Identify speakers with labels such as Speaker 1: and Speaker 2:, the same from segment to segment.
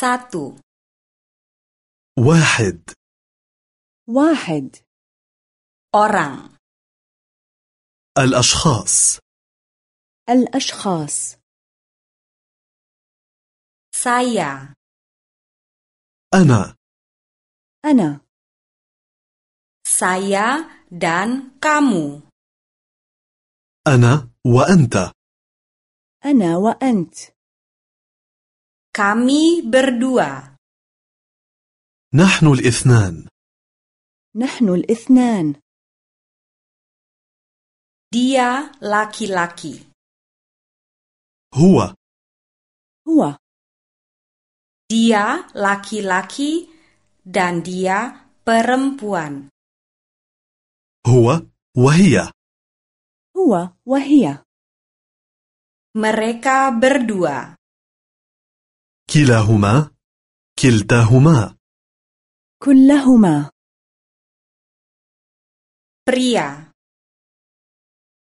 Speaker 1: satu
Speaker 2: واحد
Speaker 3: واحد
Speaker 1: orang
Speaker 2: الأشخاص
Speaker 3: الأشخاص
Speaker 1: saya
Speaker 2: أنا
Speaker 3: أنا
Speaker 1: saya dan kamu
Speaker 2: أنا وأنت
Speaker 3: أنا وأنت
Speaker 1: kami berdua
Speaker 2: نحن الاثنان
Speaker 3: نحن الاثنان
Speaker 1: dia laki-laki
Speaker 2: هو
Speaker 3: هو
Speaker 1: dia laki-laki dan dia perempuan
Speaker 2: هو وهي
Speaker 3: هو وهي
Speaker 1: mereka berdua
Speaker 2: كلاهما كلتاهما
Speaker 3: كلهما
Speaker 1: pria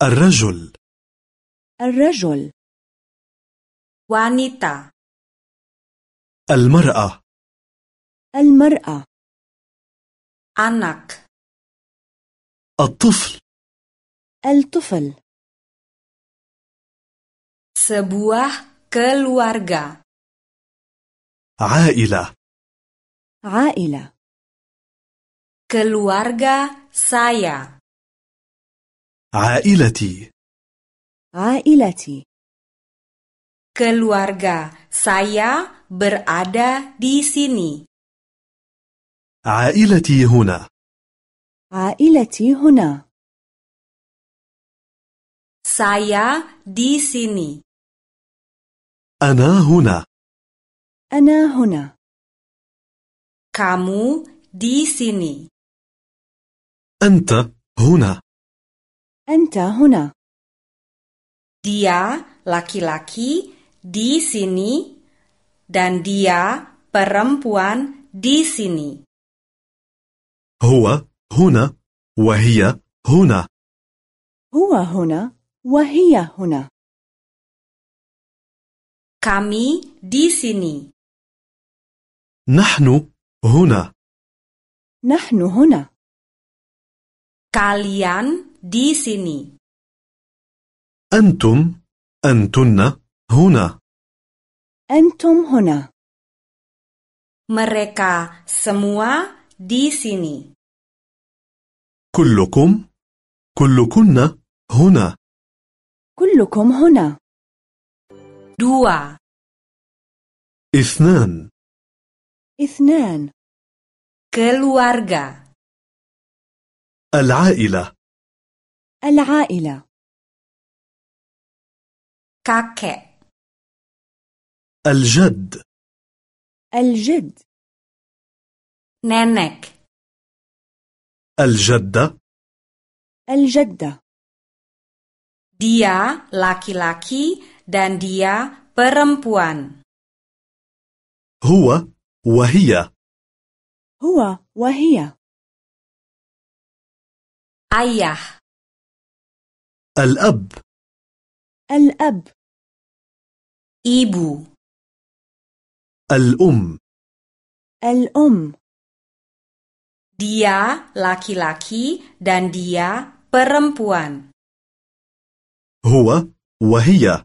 Speaker 2: الرجل
Speaker 3: الرجل
Speaker 1: wanita
Speaker 2: المرأة
Speaker 3: المرأة
Speaker 1: anak
Speaker 2: الطفل
Speaker 3: الطفل
Speaker 1: sebuah keluarga
Speaker 2: عائلة
Speaker 3: عائلة
Speaker 1: keluarga saya
Speaker 2: عائلتي
Speaker 3: عائلتي
Speaker 1: keluarga saya berada di sini
Speaker 2: عائلتي هنا
Speaker 3: عائلتي هنا
Speaker 1: saya di sini
Speaker 2: أنا هنا
Speaker 3: أنا هنا
Speaker 1: kamu di sini
Speaker 2: أنت هنا
Speaker 3: أنت هنا
Speaker 1: dia laki-laki di sini dan dia perempuan di sini
Speaker 2: هو هنا وهي هنا
Speaker 3: هو هنا وهي هنا
Speaker 1: kami di sini
Speaker 2: نحن هنا
Speaker 3: نحن هنا
Speaker 1: kalian di sini
Speaker 2: أنتم أنتن هنا
Speaker 3: أنتم هنا
Speaker 1: mereka semua di sini
Speaker 2: كلكم كلكن هنا
Speaker 3: كلكم هنا
Speaker 1: dua
Speaker 2: اثنان
Speaker 3: اثنان
Speaker 1: keluarga,
Speaker 2: العائلة
Speaker 3: العائلة
Speaker 1: kakek,
Speaker 2: الجد
Speaker 3: الجد
Speaker 1: nenek,
Speaker 2: الجدة
Speaker 3: الجدة
Speaker 1: dia laki-laki dan dia perempuan,
Speaker 2: هو وهي
Speaker 3: هو وهي
Speaker 1: ayah,
Speaker 2: الأب
Speaker 3: الأب
Speaker 1: ibu,
Speaker 2: الأم
Speaker 3: الأم
Speaker 1: dia laki-laki dan dia perempuan,
Speaker 2: هو وهي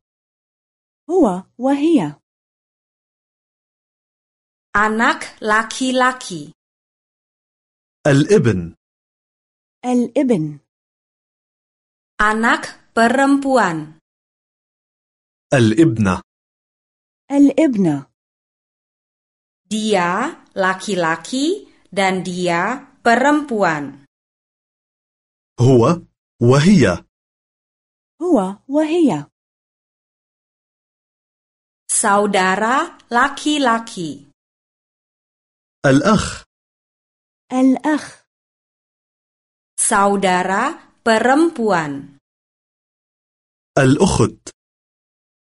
Speaker 3: هو وهي
Speaker 1: anak laki-laki,
Speaker 2: الابن
Speaker 3: الابن
Speaker 1: anak perempuan,
Speaker 2: الابنة
Speaker 3: الابنة
Speaker 1: dia laki-laki dan dia perempuan,
Speaker 2: هو وهي
Speaker 3: هو وهي
Speaker 1: saudara laki-laki,
Speaker 2: الأخ
Speaker 3: الأخ
Speaker 1: saudara perempuan.
Speaker 2: الأخت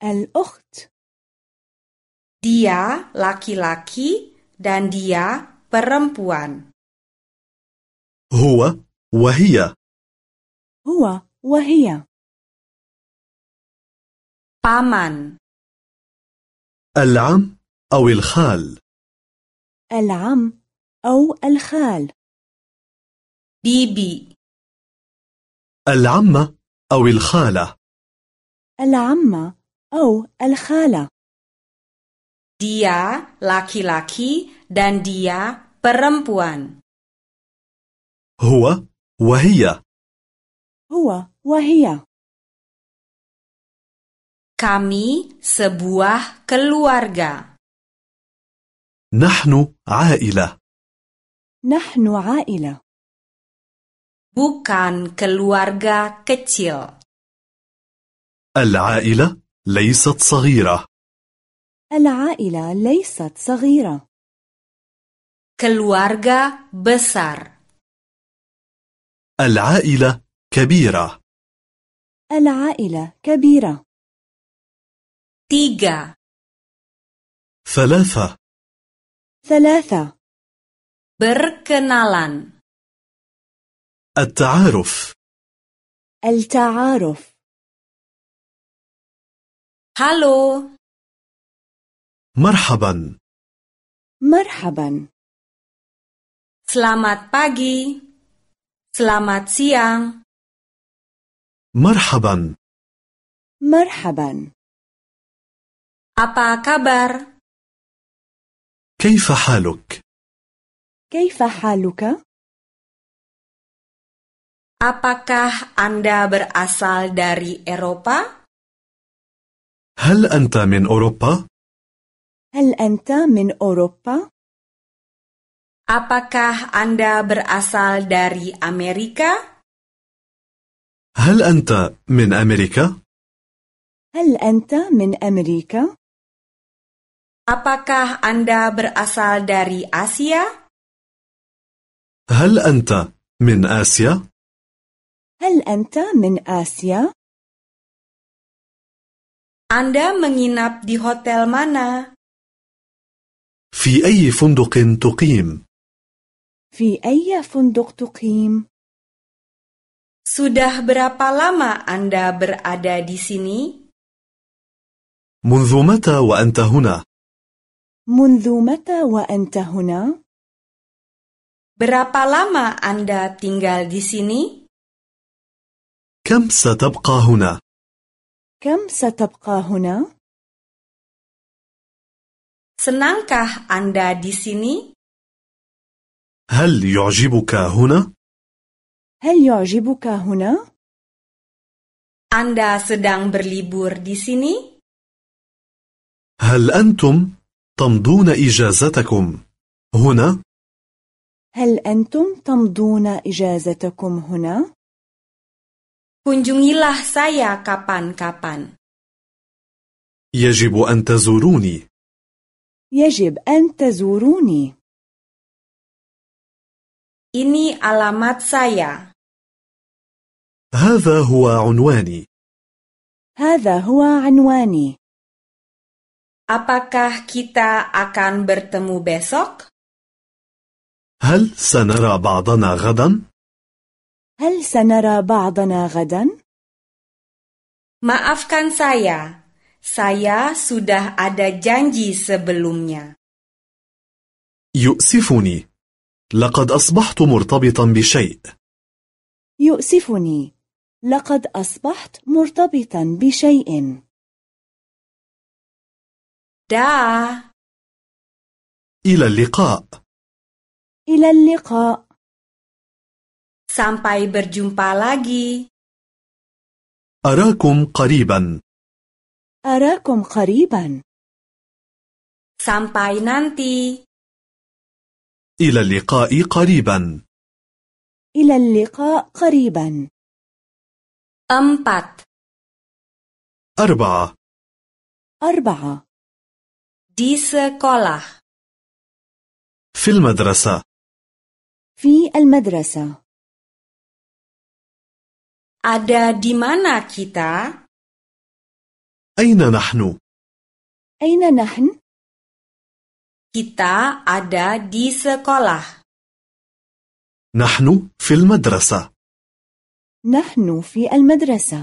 Speaker 3: الأخت
Speaker 1: Dia laki-laki dan dia perempuan.
Speaker 2: هو وهي
Speaker 3: هو وهي
Speaker 1: Paman,
Speaker 2: العم أو الخال
Speaker 3: العم أو الخال
Speaker 1: bibi,
Speaker 2: العمة أو الخالة
Speaker 3: العمة أو الخالة
Speaker 1: dia laki-laki dan dia perempuan.
Speaker 2: هو وهي
Speaker 3: هو وهي
Speaker 1: Kami sebuah keluarga.
Speaker 2: نحن عائلة
Speaker 3: نحن عائلة
Speaker 1: Bukan keluarga kecil.
Speaker 2: العائلة ليست صغيرة
Speaker 3: العائلة ليست صغيرة
Speaker 1: Keluarga besar.
Speaker 2: العائلة كبيرة
Speaker 3: العائلة كبيرة
Speaker 1: Tiga.
Speaker 2: ثلاثة
Speaker 3: ثلاثة
Speaker 1: Berkenalan.
Speaker 2: التعارف
Speaker 3: التعارف
Speaker 1: Halo,
Speaker 2: مرحبا
Speaker 3: مرحبا
Speaker 1: selamat pagi. Selamat siang.
Speaker 2: مرحبا
Speaker 3: مرحبا
Speaker 1: Apa kabar?
Speaker 2: كيف حالك
Speaker 3: كيف حالك؟
Speaker 1: Apakah Anda berasal dari Eropa?
Speaker 2: هل أنت من أوروبا
Speaker 3: هل أنت من أوروبا؟
Speaker 1: Apakah Anda berasal dari Amerika?
Speaker 2: هل أنت من أمريكا
Speaker 3: هل أنت من أمريكا؟
Speaker 1: Apakah Anda berasal dari Asia?
Speaker 2: هل أنت من آسيا
Speaker 3: هل أنت من آسيا؟
Speaker 1: Anda menginap di hotel mana?
Speaker 2: في أي فندق تقيم
Speaker 3: في أي فندق تقيم؟
Speaker 1: Sudah berapa lama Anda berada di sini?
Speaker 2: منذ متى وأنت هنا
Speaker 3: منذ متى وأنت هنا؟
Speaker 1: Berapa lama Anda tinggal di sini?
Speaker 2: كم ستبقى هنا
Speaker 3: كم ستبقى هنا؟
Speaker 1: Senangkah Anda di sini?
Speaker 2: هل يعجبك هنا
Speaker 3: هل يعجبك هنا؟
Speaker 1: Anda sedang berlibur di sini?
Speaker 2: هل أنتم تمضون إجازتكم هنا
Speaker 3: هل أنتم تمضون إجازتكم هنا؟
Speaker 1: Kunjungilah saya kapan-kapan.
Speaker 2: يجب أن تزوروني
Speaker 3: يجب أن تزوروني
Speaker 1: Ini alamat saya.
Speaker 2: هذا هو عنواني
Speaker 3: هذا هو عنواني
Speaker 1: Apakah kita akan bertemu besok?
Speaker 2: هل سنرى بعضنا غدا؟
Speaker 3: هل سنرى بعضنا غدا؟
Speaker 1: Maafkan saya. Saya sudah ada janji sebelumnya.
Speaker 2: يؤسفني لقد أصبحت مرتبطا بشيء
Speaker 3: يؤسفني لقد أصبحت مرتبطا بشيء
Speaker 1: Dah.
Speaker 2: إلى اللقاء
Speaker 3: إلى اللقاء
Speaker 1: Sampai berjumpa lagi.
Speaker 2: أراكم قريبا
Speaker 3: أراكم قريبا
Speaker 1: Sampai nanti.
Speaker 2: إلى اللقاء قريبا
Speaker 3: إلى اللقاء قريبا
Speaker 1: Empat.
Speaker 2: أربعة
Speaker 3: أربعة
Speaker 1: Di sekolah.
Speaker 2: في المدرسة
Speaker 3: في المدرسة
Speaker 1: Ada di mana kita?
Speaker 2: أين نحن؟
Speaker 3: أين نحن؟
Speaker 1: Kita ada di sekolah.
Speaker 2: نحن في المدرسة
Speaker 3: نحن في المدرسة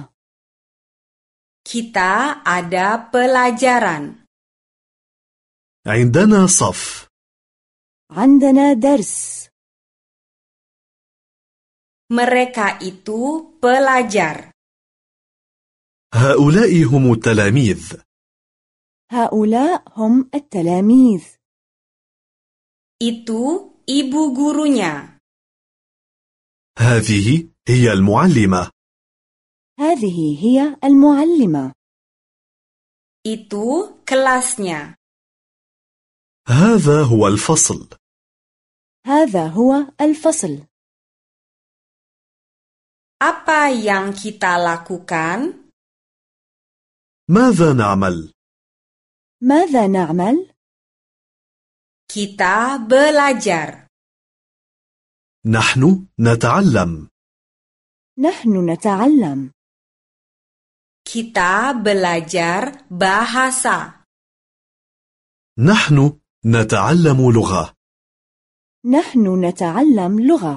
Speaker 1: Kita ada pelajaran.
Speaker 2: عندنا صف
Speaker 3: عندنا درس
Speaker 1: Mereka itu pelajar.
Speaker 2: هؤلاء هم التلاميذ
Speaker 3: هؤلاء هم التلاميذ
Speaker 1: Itu ibu gurunya.
Speaker 2: هذه هي المعلمة
Speaker 3: هذه هي المعلمة
Speaker 1: Itu kelasnya.
Speaker 2: هذا هو الفصل
Speaker 3: هذا هو الفصل
Speaker 1: Apa yang kita lakukan?
Speaker 2: ماذا نعمل؟
Speaker 3: ماذا نعمل؟
Speaker 1: Kita belajar.
Speaker 2: نحن نتعلم
Speaker 3: نحن نتعلم
Speaker 1: Kita belajar bahasa.
Speaker 2: نحن نتعلم لغة
Speaker 3: نحن نتعلم لغة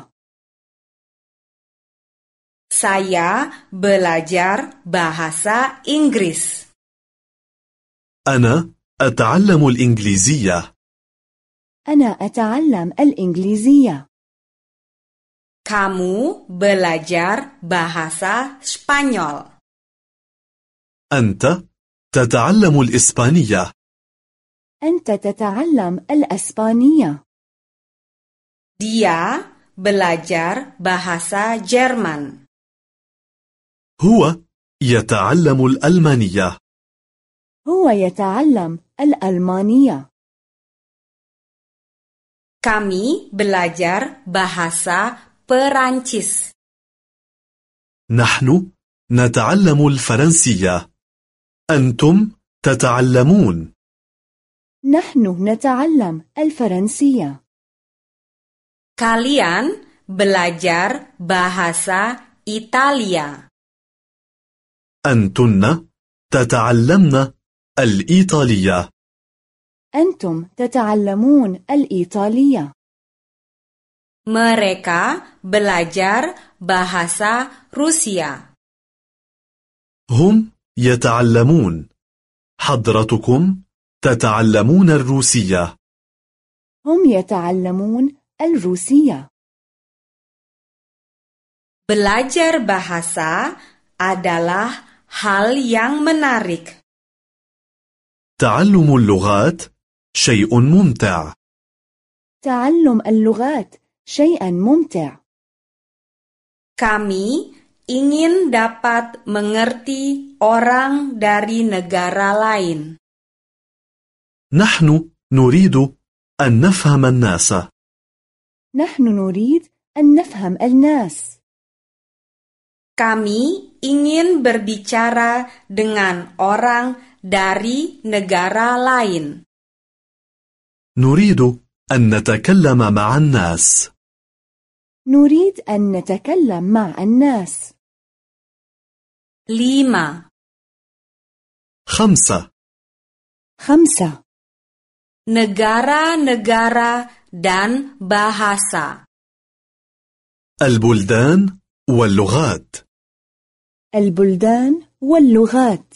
Speaker 1: Saya belajar bahasa Inggris.
Speaker 2: أنا أتعلم الإنجليزية
Speaker 3: أنا أتعلم الإنجليزية
Speaker 1: Kamu belajar bahasa Spanyol.
Speaker 2: أنت تتعلم الإسبانية
Speaker 3: أنت تتعلم الأسبانية
Speaker 1: Dia belajar bahasa Jerman.
Speaker 2: هو يتعلم الألمانية
Speaker 3: هو يتعلم الألمانية
Speaker 1: Kami belajar bahasa Perancis.
Speaker 2: نحن نتعلم الفرنسية أنتم تتعلمون
Speaker 3: نحن نتعلم الفرنسية
Speaker 1: Kalian belajar bahasa Italia.
Speaker 2: أنتن تتعلمن الإيطالية
Speaker 3: أنتم تتعلمون الإيطالية
Speaker 1: Mereka belajar bahasa Rusia.
Speaker 2: هم يتعلمون حضرتكم تتعلمون الروسية
Speaker 3: هم يتعلمون الروسية
Speaker 1: Belajar bahasa adalah hal yang menarik.
Speaker 2: تعلم اللغات شيء ممتع
Speaker 3: تعلم اللغات شيئا ممتع
Speaker 1: Kami ingin dapat mengerti orang dari negara lain.
Speaker 2: نحن نريد أن نفهم الناس
Speaker 3: نحن نريد أن نفهم الناس
Speaker 1: Kami ingin berbicara dengan orang dari negara lain.
Speaker 2: نريد أن نتكلم مع الناس
Speaker 3: نريد أن نتكلم مع الناس
Speaker 1: 5.
Speaker 2: خمسة
Speaker 3: خمسة
Speaker 1: Negara-negara dan bahasa.
Speaker 2: البلدان واللغات
Speaker 3: البلدان واللغات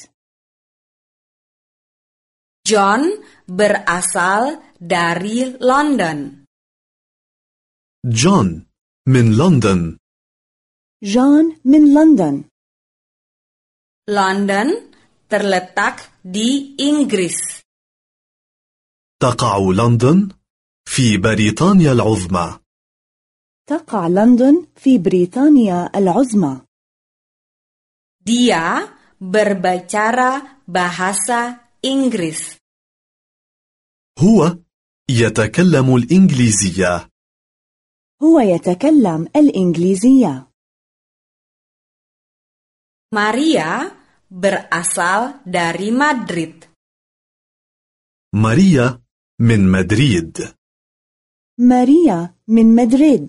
Speaker 1: John berasal dari London.
Speaker 2: جون من لندن
Speaker 3: جون من لندن
Speaker 1: London terletak di Inggris.
Speaker 2: تقع لندن في بريطانيا العظمى
Speaker 3: تقع لندن في بريطانيا العظمى
Speaker 1: Dia berbicara bahasa Inggris.
Speaker 2: هو يتكلم الإنجليزية
Speaker 3: هو يتكلم الإنجليزية
Speaker 1: Maria berasal dari Madrid.
Speaker 2: ماريا من مدريد
Speaker 3: ماريا من مدريد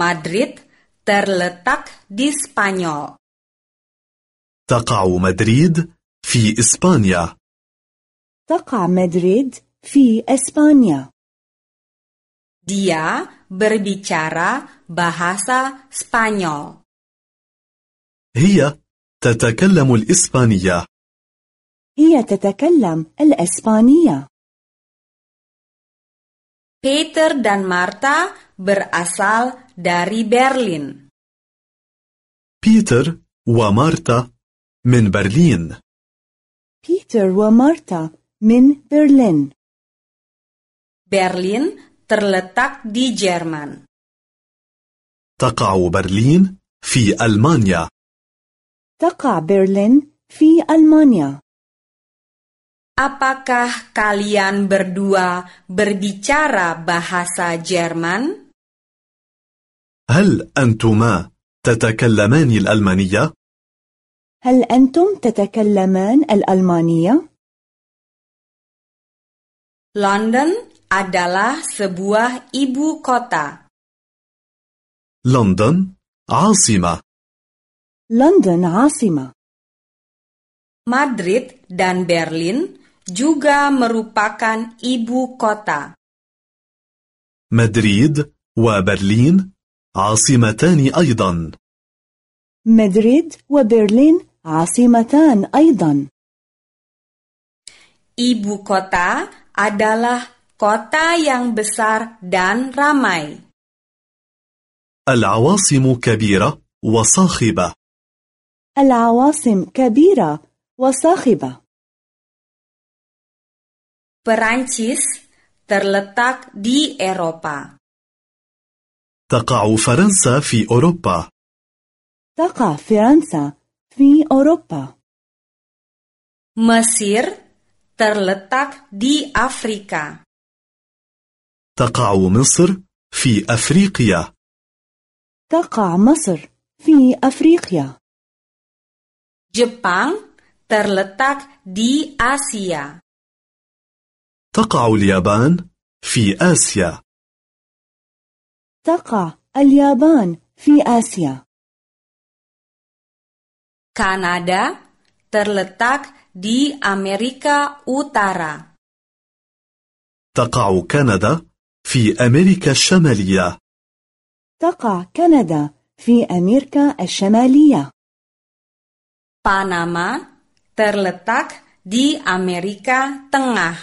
Speaker 1: Madrid terletak di Spanyol.
Speaker 2: تقع مدريد في إسبانيا
Speaker 3: تقع مدريد في إسبانيا
Speaker 1: Dia berbicara bahasa Spanyol.
Speaker 2: هي تتكلم الإسبانية
Speaker 3: هي تتكلم الإسبانية
Speaker 1: Peter dan Martha berasal dari Berlin.
Speaker 2: بيتر ومارتا من برلين
Speaker 3: بيتر ومارتا من برلين
Speaker 1: Berlin terletak di Jerman.
Speaker 2: تقع برلين في ألمانيا
Speaker 3: تقع برلين في ألمانيا
Speaker 1: Apakah kalian berdua berbicara bahasa Jerman?
Speaker 2: هل أنتما تتكلمان الألمانية؟
Speaker 3: هل أنتم تتكلمان الألمانية؟
Speaker 1: London adalah sebuah ibu kota.
Speaker 2: لندن عاصمة
Speaker 3: لندن عاصمة
Speaker 1: Madrid dan Berlin juga merupakan ibu kota.
Speaker 2: مدريد وبرلين عاصمتان أيضا
Speaker 3: مدريد وبرلين عاصمتان أيضا
Speaker 1: Ibu kota adalah kota yang besar dan ramai.
Speaker 2: العواصم كبيرة وصاخبة
Speaker 3: العواصم كبيرة وصاخبة
Speaker 1: Perancis terletak di Eropa.
Speaker 2: تقع فرنسا في أوروبا
Speaker 3: تقع فرنسا في أوروبا
Speaker 1: Mesir terletak di Afrika.
Speaker 2: تقع مصر في أفريقيا
Speaker 3: تقع مصر في أفريقيا
Speaker 1: Jepang terletak di Asia.
Speaker 2: تقع اليابان في آسيا
Speaker 3: تقع اليابان في آسيا
Speaker 1: Kanada terletak di Amerika Utara.
Speaker 2: تقع كندا في أمريكا الشمالية
Speaker 3: تقع كندا في أمريكا الشمالية
Speaker 1: Panama terletak di Amerika Tengah.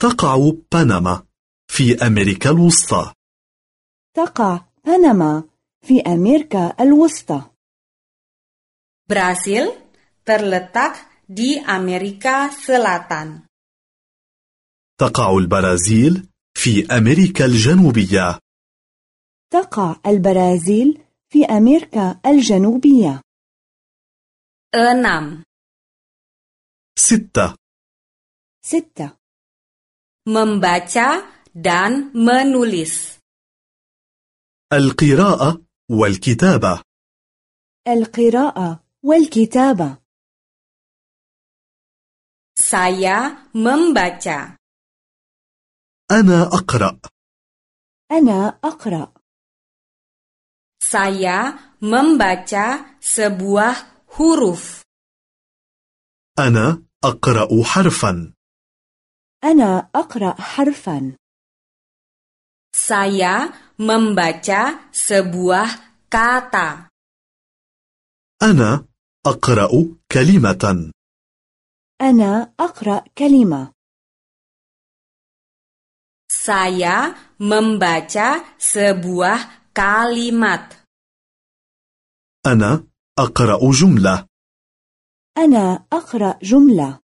Speaker 2: تقع بنما في أمريكا الوسطى
Speaker 3: تقع بنما في أمريكا الوسطى
Speaker 1: Brasil terletak di Amerika Selatan.
Speaker 2: تقع البرازيل في أمريكا الجنوبية
Speaker 3: تقع البرازيل في أمريكا الجنوبية
Speaker 1: 6.
Speaker 2: ستة
Speaker 3: ستة
Speaker 1: Membaca dan menulis.
Speaker 2: القراءة والكتابة
Speaker 3: القراءة والكتابة
Speaker 1: Saya membaca.
Speaker 2: أنا أقرأ
Speaker 3: أنا أقرأ
Speaker 1: Saya membaca sebuah huruf.
Speaker 2: أنا أقرأ حرفا
Speaker 3: أنا أقرأ حرفا
Speaker 1: Saya membaca sebuah kata.
Speaker 2: أنا أقرأ كلمة
Speaker 3: أنا أقرأ كلمة
Speaker 1: Saya membaca sebuah kalimat.
Speaker 2: أنا أقرأ جملة
Speaker 3: أنا أقرأ جملة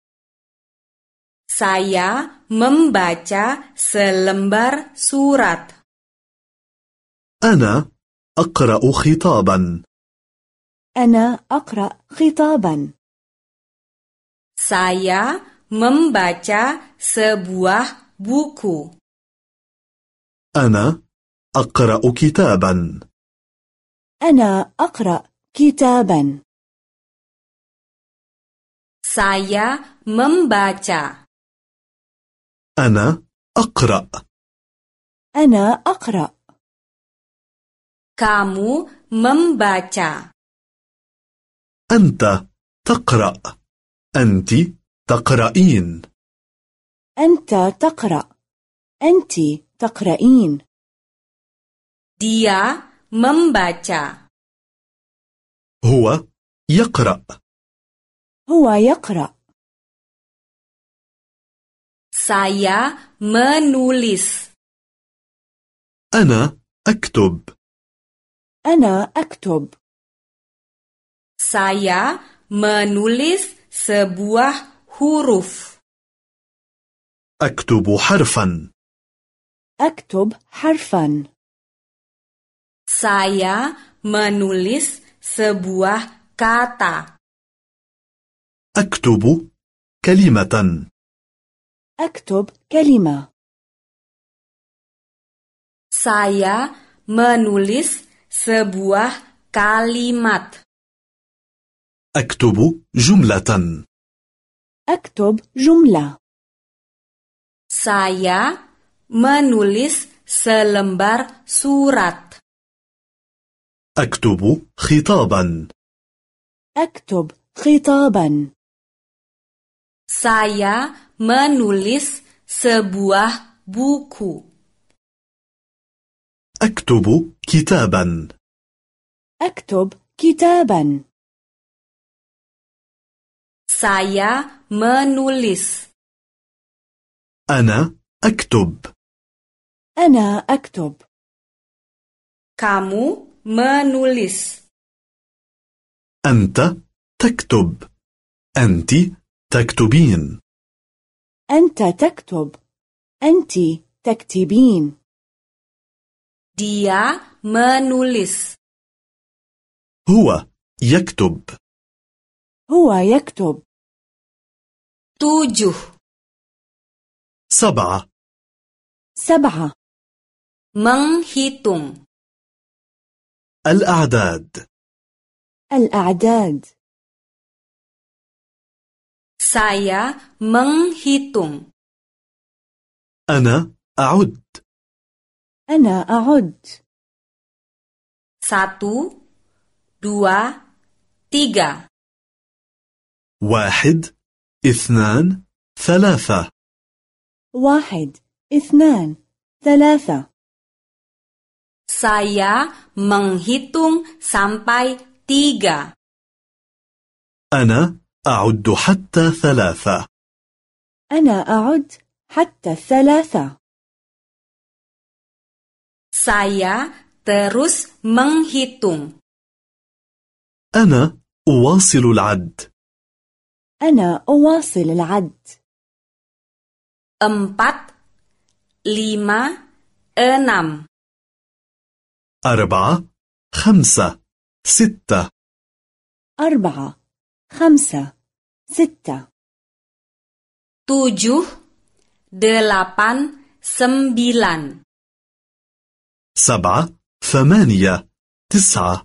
Speaker 1: Saya membaca selembar surat.
Speaker 2: أنا أقرأ خطابا
Speaker 3: أنا أقرأ خطابا
Speaker 1: Saya membaca sebuah buku.
Speaker 2: أنا أقرأ كتابا
Speaker 3: أنا أقرأ كتابا
Speaker 1: Saya membaca.
Speaker 2: أنا أقرأ
Speaker 3: أنا أقرأ
Speaker 1: Kamu membaca.
Speaker 2: أنت تقرأ أنت تقرأين
Speaker 3: أنت تقرأ أنت تقرأين
Speaker 1: Dia membaca.
Speaker 2: هو يقرأ
Speaker 3: هو يقرأ
Speaker 1: Saya menulis.
Speaker 2: أنا أكتب
Speaker 3: أنا أكتب
Speaker 1: Saya menulis sebuah huruf.
Speaker 2: أكتب حرفا
Speaker 3: أكتب حرفا
Speaker 1: Saya menulis sebuah kata.
Speaker 2: أكتب كلمة
Speaker 3: أكتب كلمة
Speaker 1: Saya menulis sebuah kalimat.
Speaker 2: أكتب جملة
Speaker 3: أكتب جملة
Speaker 1: Saya menulis selembar surat.
Speaker 2: أكتب خطابا
Speaker 3: أكتب خطابا
Speaker 1: Saya menulis sebuah buku.
Speaker 2: أكتب كتابا
Speaker 3: أكتب كتابا
Speaker 1: Saya menulis.
Speaker 2: أنا أكتب
Speaker 3: أنا أكتب
Speaker 1: Kamu menulis.
Speaker 2: أنت تكتب أنت تكتبين
Speaker 3: أنت تكتب أنت تكتبين
Speaker 1: Dia menulis.
Speaker 2: هو يكتب
Speaker 3: هو يكتب
Speaker 1: Tujuh.
Speaker 2: سبعة
Speaker 3: سبعة
Speaker 1: Menghitung.
Speaker 2: الأعداد
Speaker 3: الأعداد
Speaker 1: Saya menghitung.
Speaker 2: أنا أعد
Speaker 3: أنا أعد
Speaker 1: Satu, dua, tiga.
Speaker 2: واحد اثنان ثلاثة
Speaker 3: واحد اثنان ثلاثة
Speaker 1: Saya menghitung sampai tiga.
Speaker 2: أنا أعد حتى ثلاثة
Speaker 3: أنا أعد حتى الثلاثة
Speaker 1: Saya terus menghitung.
Speaker 2: أنا أواصل العد
Speaker 3: أنا أواصل العد
Speaker 1: Empat, lima, enam.
Speaker 2: أربعة خمسة ستة
Speaker 3: أربعة خمسة ستة
Speaker 1: tujuh, delapan, sembilan.
Speaker 2: سبعة ثمانية تسعة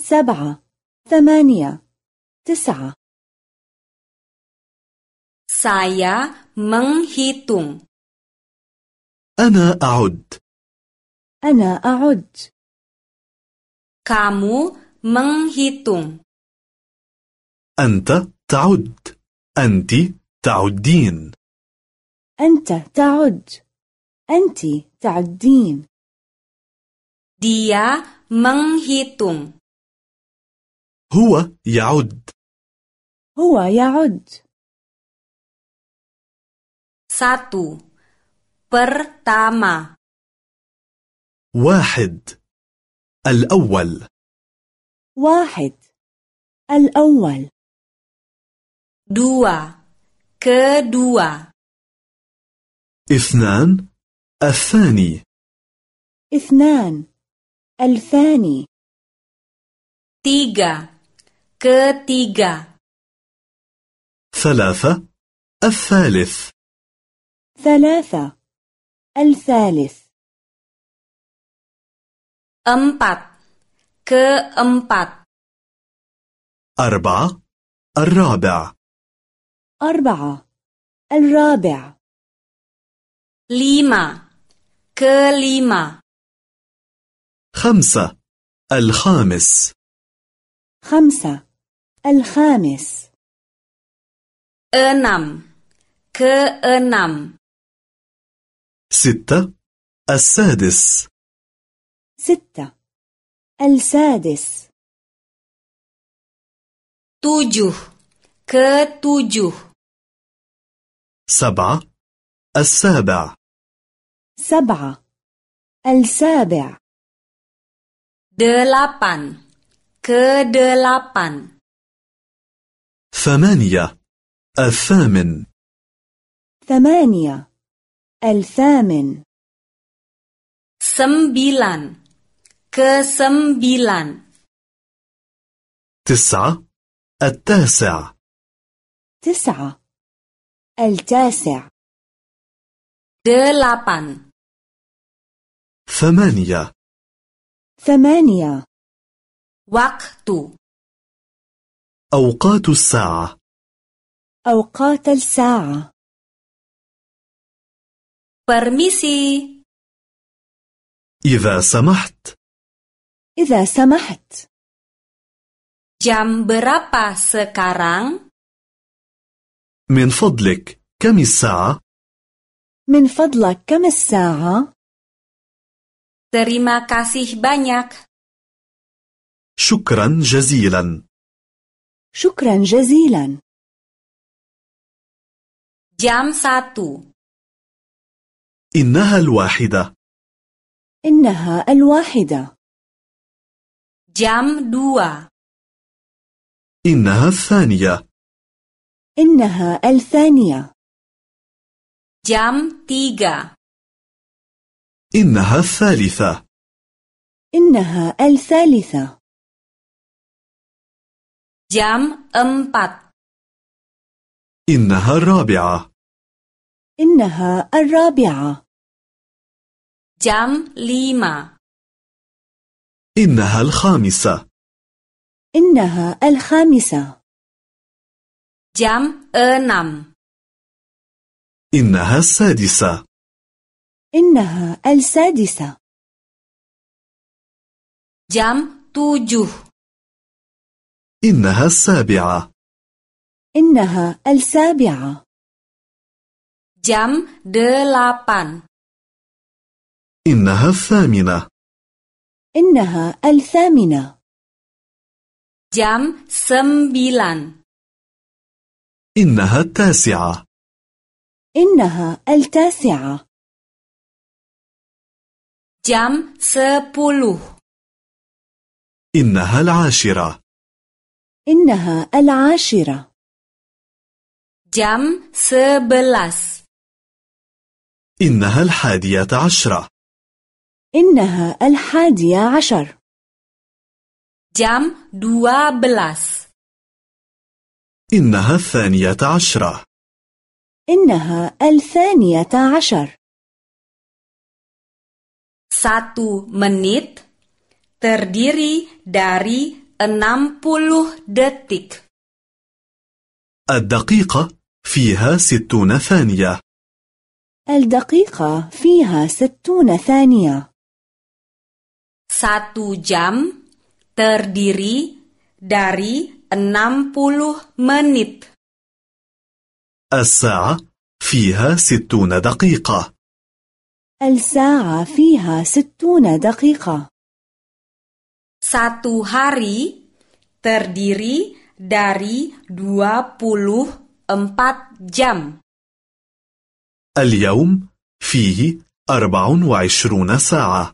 Speaker 3: سبعة ثمانية تسعة
Speaker 1: Saya menghitung.
Speaker 2: أنا أعد
Speaker 3: أنا أعد
Speaker 1: Kamu menghitung.
Speaker 2: أنت تعد أنت تعدين
Speaker 3: أنت تعد أنت تعدين
Speaker 1: Dia menghitung.
Speaker 2: هو يعد
Speaker 3: هو يعد
Speaker 1: Satu, pertama.
Speaker 2: واحد الأول
Speaker 3: واحد الأول
Speaker 1: Dua, kedua.
Speaker 2: اثنان الثاني
Speaker 3: اثنان الثاني
Speaker 1: Tiga, ketiga.
Speaker 2: ثلاثة الثالث
Speaker 3: ثلاثة الثالث
Speaker 1: Empat, keempat.
Speaker 2: أربعة الرابع
Speaker 3: أربعة الرابع
Speaker 1: Lima, kelima.
Speaker 2: خمسة الخامس
Speaker 3: خمسة الخامس
Speaker 1: Enam, keenam.
Speaker 2: ستة السادس
Speaker 3: ستة السادس
Speaker 1: Tujuh, ketujuh.
Speaker 2: سبعة السابع
Speaker 3: سبعة السابع
Speaker 1: delapan, kedelapan,
Speaker 2: ثمانية الثامن
Speaker 3: ثمانية الثامن
Speaker 1: sembilan, kesembilan,
Speaker 2: تسعة التاسع
Speaker 3: تسعة التاسع
Speaker 1: delapan,
Speaker 2: ثمانية
Speaker 3: ثمانية
Speaker 1: waktu,
Speaker 2: أوقات الساعة
Speaker 3: أوقات الساعة
Speaker 1: permisi,
Speaker 2: إذا سمحت
Speaker 3: إذا سمحت
Speaker 1: jam berapa sekarang?
Speaker 2: من فضلك كم الساعة؟
Speaker 3: من فضلك كم الساعة؟
Speaker 1: Terima kasih banyak.
Speaker 2: شكرا جزيلا
Speaker 3: شكرا جزيلا
Speaker 1: Jam 1.
Speaker 2: إنها الواحدة
Speaker 3: إنها الواحدة
Speaker 1: Jam 2.
Speaker 2: إنها الثانية
Speaker 3: إنها الثانية
Speaker 1: Jam 3.
Speaker 2: إنها الثالثة
Speaker 3: إنها الثالثة
Speaker 1: Jam 4.
Speaker 2: إنها الرابعة
Speaker 3: إنها الرابعة
Speaker 1: Jam 5.
Speaker 2: إنها الخامسة
Speaker 3: إنها الخامسة
Speaker 1: Jam 6.
Speaker 2: إنها السادسة
Speaker 3: إنها السادسة
Speaker 1: Jam 7.
Speaker 2: إنها السابعة
Speaker 3: إنها السابعة
Speaker 1: Jam 8.
Speaker 2: إنها الثامنة
Speaker 3: إنها الثامنة
Speaker 1: Jam 9.
Speaker 2: إنها التاسعة
Speaker 3: إنها التاسعة
Speaker 1: Jam 10.
Speaker 2: إنها العاشرة
Speaker 3: إنها العاشرة
Speaker 1: Jam 11.
Speaker 2: إنها الحادية عشرة
Speaker 3: إنها الحادية عشر
Speaker 1: Jam 12.
Speaker 2: إنها الثانية عشرة
Speaker 3: إنها الثانية عشر
Speaker 1: Satu menit terdiri dari 60 detik.
Speaker 2: الدقيقة فيها ستون ثانية
Speaker 3: الدقيقة فيها ستون ثانية
Speaker 1: Satu jam terdiri dari 60 menit.
Speaker 2: الساعة فيها ستون دقيقة
Speaker 3: الساعة فيها ستون دقيقة
Speaker 1: Satu hari terdiri dari 24 jam.
Speaker 2: اليوم فيه 24 ساعة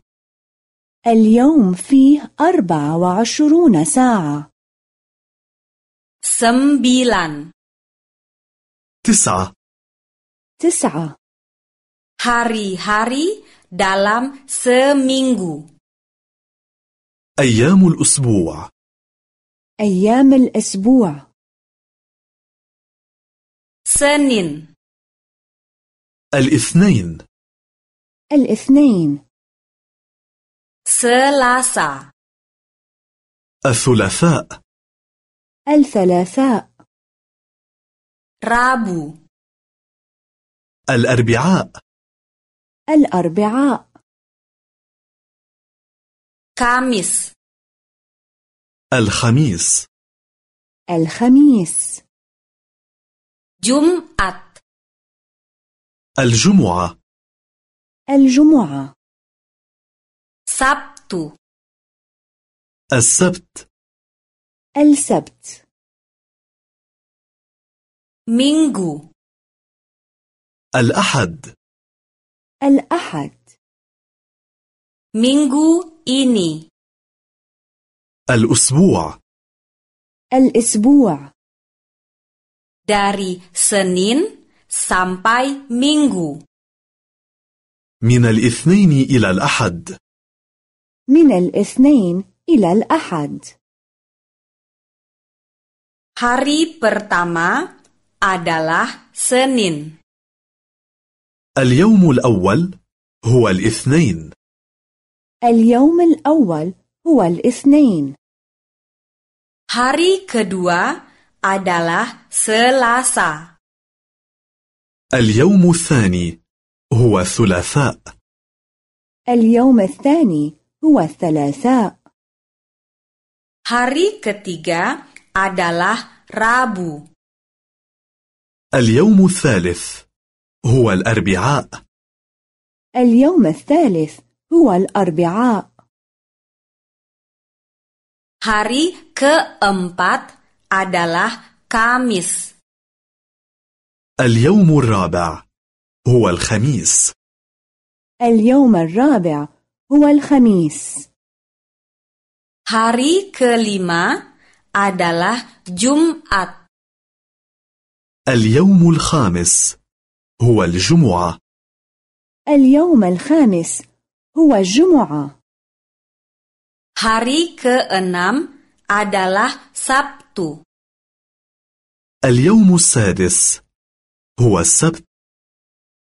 Speaker 3: اليوم فيه أربعة وعشرون ساعة
Speaker 1: Sembilan.
Speaker 2: تسعة
Speaker 3: تسعة
Speaker 1: Hari-hari dalam seminggu.
Speaker 2: أيام الأسبوع
Speaker 3: أيام الأسبوع
Speaker 1: Senin.
Speaker 2: الاثنين
Speaker 3: الاثنين
Speaker 1: Selasa,
Speaker 2: الثلاثاء
Speaker 3: الثلاثاء
Speaker 1: Rabu,
Speaker 2: الأربعاء
Speaker 3: الأربعاء
Speaker 1: Kamis,
Speaker 2: الخميس
Speaker 3: الخميس
Speaker 1: Jumat,
Speaker 2: الجمعة
Speaker 3: الجمعة
Speaker 1: Sabtu,
Speaker 2: السبت
Speaker 3: السبت
Speaker 1: Minggu.
Speaker 2: الأحد
Speaker 3: الأحد
Speaker 1: Minggu ini,
Speaker 2: الأسبوع
Speaker 3: الأسبوع
Speaker 1: dari Senin sampai Minggu.
Speaker 2: من الاثنين إلى الأحد
Speaker 3: من الاثنين إلى الأحد
Speaker 1: Hari pertama adalah Senin.
Speaker 2: اليوم الأول هو الاثنين
Speaker 3: اليوم الأول هو الاثنين
Speaker 1: Hari kedua adalah Selasa.
Speaker 2: اليوم الثاني هو الثلاثاء
Speaker 3: اليوم الثاني هو الثلاثاء
Speaker 1: Hari ketiga adalah Rabu.
Speaker 2: اليوم الثالث هو الأربعاء
Speaker 3: اليوم الثالث هو الأربعاء
Speaker 1: Hari keempat adalah Kamis.
Speaker 2: اليوم الرابع هو الخميس
Speaker 3: اليوم الرابع هو الخميس
Speaker 1: Hari kelima adalah Jumat.
Speaker 2: اليوم الخامس هو الجمعة
Speaker 3: اليوم الخامس هو الجمعة
Speaker 1: Hari keenam adalah Sabtu.
Speaker 2: اليوم السادس هو السبت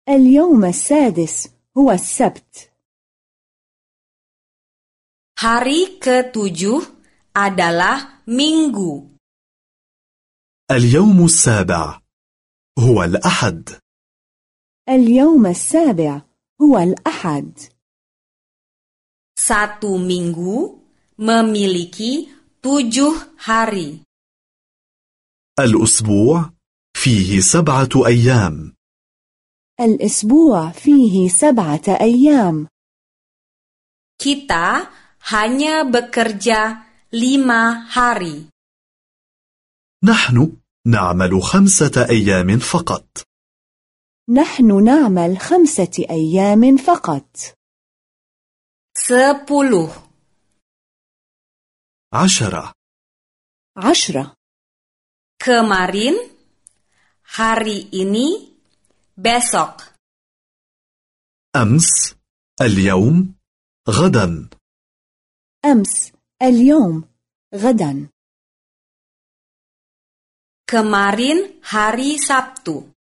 Speaker 3: اليوم السادس هو السبت
Speaker 1: Hari ketujuh adalah Minggu.
Speaker 2: اليوم السابع هو الأحد
Speaker 3: اليوم السابع هو الأحد
Speaker 1: Satu minggu memiliki tujuh hari.
Speaker 2: الأسبوع فيه سبعة أيام
Speaker 3: الأسبوع فيه سبعة أيام
Speaker 1: Kita hanya bekerja lima hari.
Speaker 2: نحن نعمل خمسة أيام فقط
Speaker 3: نحن نعمل خمسة أيام فقط
Speaker 1: Sepuluh.
Speaker 2: عشرة
Speaker 3: عشرة
Speaker 1: Kemarin, hari ini, besok.
Speaker 2: أمس اليوم غدا
Speaker 3: أمس اليوم غدا
Speaker 1: Kemarin hari Sabtu.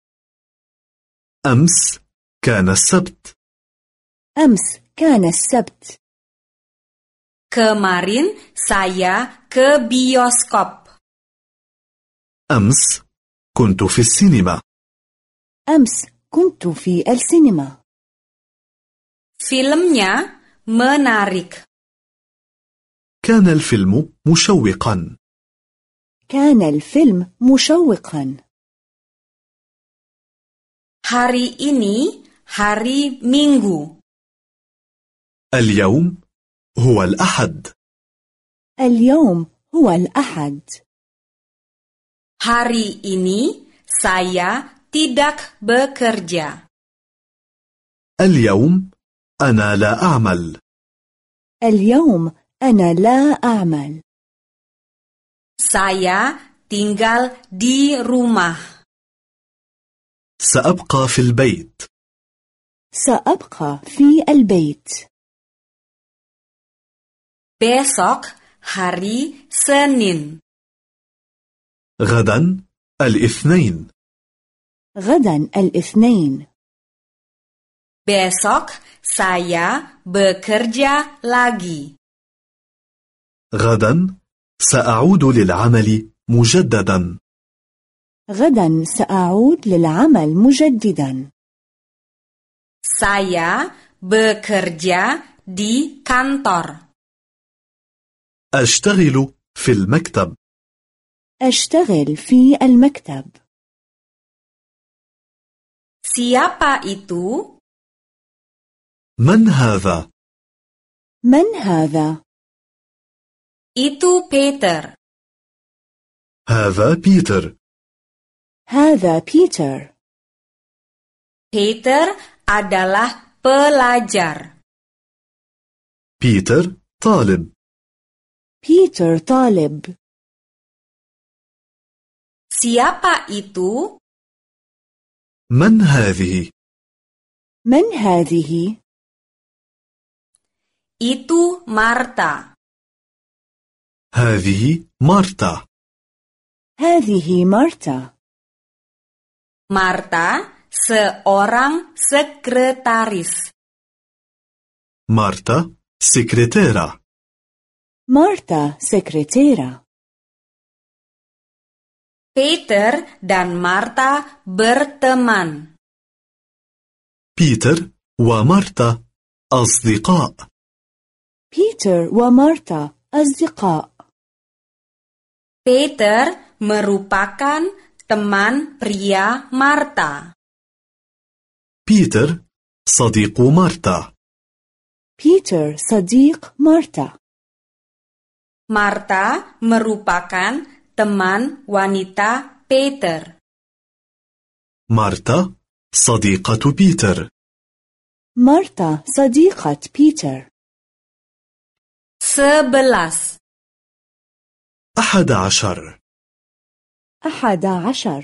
Speaker 2: أمس كان السبت
Speaker 3: أمس كان السبت
Speaker 1: Kemarin saya ke bioskop.
Speaker 2: أمس كنت في السينما
Speaker 3: أمس كنت في السينما
Speaker 1: Filmnya menarik.
Speaker 2: كان الفيلم مشوقا
Speaker 3: كان الفيلم مشوقا
Speaker 1: Hari ini hari Minggu.
Speaker 2: اليوم هو الأحد
Speaker 3: اليوم هو الأحد
Speaker 1: Hari ini saya tidak bekerja.
Speaker 2: اليوم أنا لا أعمل
Speaker 3: اليوم أنا لا أعمل
Speaker 1: Saya tinggal di rumah.
Speaker 2: سأبقى في البيت
Speaker 3: سأبقى في البيت
Speaker 1: Besok hari Senin.
Speaker 2: غدا الاثنين
Speaker 3: غدا الاثنين
Speaker 1: Besok saya bekerja lagi.
Speaker 2: غدا سأعود للعمل مجددا
Speaker 3: غدا سأعود للعمل مجددا
Speaker 1: Saya bekerja di kantor.
Speaker 2: أشتغل في المكتب
Speaker 3: أشتغل في المكتب
Speaker 1: Siapa itu?
Speaker 2: من هذا؟
Speaker 3: من هذا؟
Speaker 1: Itu Peter.
Speaker 2: هذا بيتر
Speaker 3: هذا بيتر
Speaker 1: Peter adalah pelajar.
Speaker 2: بيتر طالب
Speaker 3: بيتر طالب
Speaker 1: Siapa itu?
Speaker 2: من هذه
Speaker 3: من هذه؟
Speaker 1: Itu Marta.
Speaker 2: هذه مارتا
Speaker 3: هذه مارتا
Speaker 1: Marta seorang sekretaris.
Speaker 2: مارتا سكرتيرة
Speaker 3: مارتا سكرتيرة
Speaker 1: Peter dan Marta berteman.
Speaker 2: بيتر ومارتا أصدقاء
Speaker 3: بيتر ومارتا أصدقاء
Speaker 1: Peter merupakan teman pria Marta.
Speaker 2: بيتر صديق مارتا
Speaker 3: بيتر صديق مارتا
Speaker 1: Marta merupakan teman wanita Peter.
Speaker 2: مارتا صديقة بيتر
Speaker 3: مارتا صديقة بيتر
Speaker 1: Sebelas.
Speaker 2: أحد عشر
Speaker 3: أحد عشر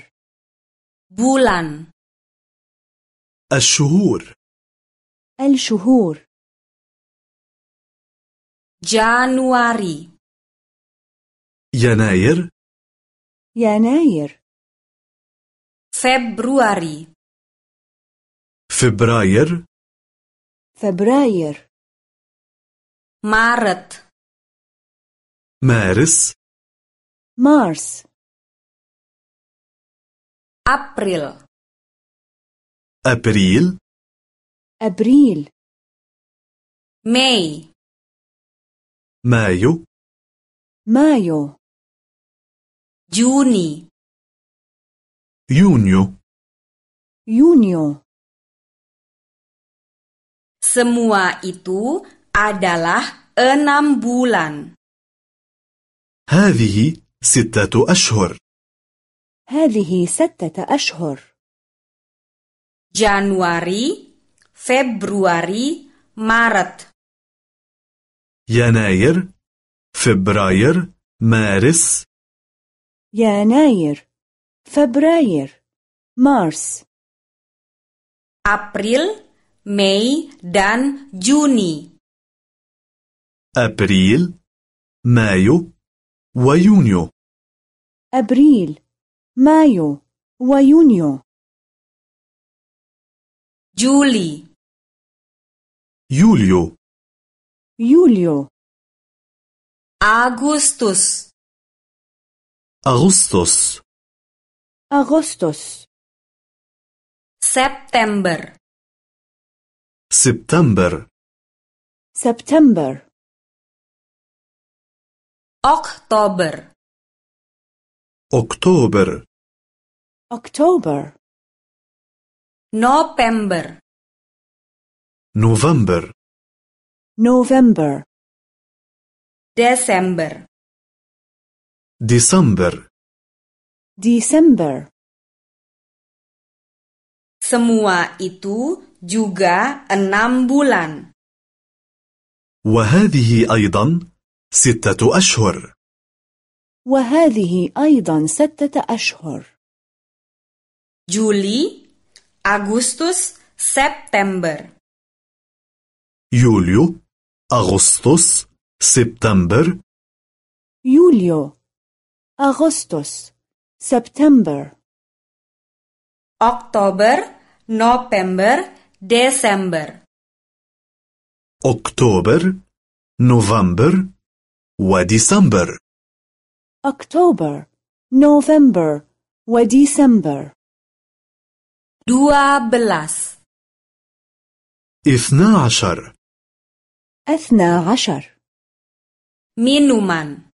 Speaker 1: Bulan.
Speaker 2: الشهور
Speaker 3: الشهور
Speaker 1: Januari.
Speaker 2: يناير
Speaker 3: يناير
Speaker 1: Februari.
Speaker 2: فبراير
Speaker 3: فبراير
Speaker 1: Maret.
Speaker 2: مارس
Speaker 3: مارس
Speaker 1: April.
Speaker 2: أبريل
Speaker 3: أبريل
Speaker 1: Mei.
Speaker 2: مايو
Speaker 3: مايو
Speaker 1: Juni.
Speaker 2: يونيو
Speaker 3: يونيو
Speaker 1: Semua itu adalah enam bulan.
Speaker 2: هذه ستة أشهر
Speaker 3: هذه ستة أشهر
Speaker 1: Januari, Februari, Maret.
Speaker 2: يناير فبراير مارس
Speaker 3: يناير فبراير مارس
Speaker 1: April, Mei, dan Juni.
Speaker 2: أبريل مايو ويونيو
Speaker 3: أبريل مايو ويونيو
Speaker 1: Juli.
Speaker 2: يوليو
Speaker 3: يوليو
Speaker 1: Agustus.
Speaker 2: أغسطس
Speaker 3: أغسطس
Speaker 1: September.
Speaker 2: سبتمبر
Speaker 3: سبتمبر
Speaker 1: Oktober.
Speaker 2: أكتوبر
Speaker 3: أكتوبر
Speaker 1: November.
Speaker 2: نوفمبر
Speaker 3: نوفمبر
Speaker 1: Desember.
Speaker 2: ديسمبر
Speaker 3: ديسمبر
Speaker 1: Semua itu juga enam bulan.
Speaker 2: وهذه أيضا ستة أشهر
Speaker 3: وهذه أيضا ستة أشهر
Speaker 1: Juli, Agustus, September.
Speaker 2: يوليو أغسطس سبتمبر
Speaker 3: يوليو أغسطس سبتمبر
Speaker 1: Oktober, November, Desember.
Speaker 2: أكتوبر نوفمبر وديسمبر
Speaker 3: أكتوبر نوفمبر وديسمبر
Speaker 1: 12.
Speaker 2: اثنا عشر
Speaker 3: أثنى عشر
Speaker 1: Minuman.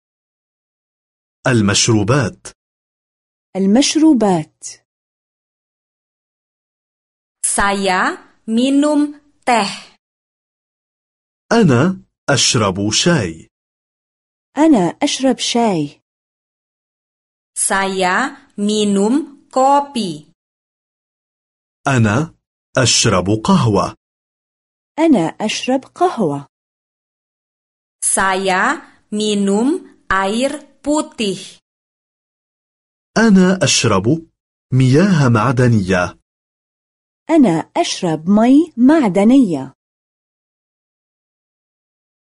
Speaker 2: المشروبات
Speaker 3: المشروبات
Speaker 1: Saya minum teh.
Speaker 2: أنا أشرب شاي
Speaker 3: أنا أشرب شاي
Speaker 1: Saya minum kopi.
Speaker 2: أنا أشرب قهوة
Speaker 3: أنا أشرب قهوة
Speaker 1: Saya minum air putih.
Speaker 2: أنا أشرب مياه معدنية
Speaker 3: أنا أشرب مي معدنية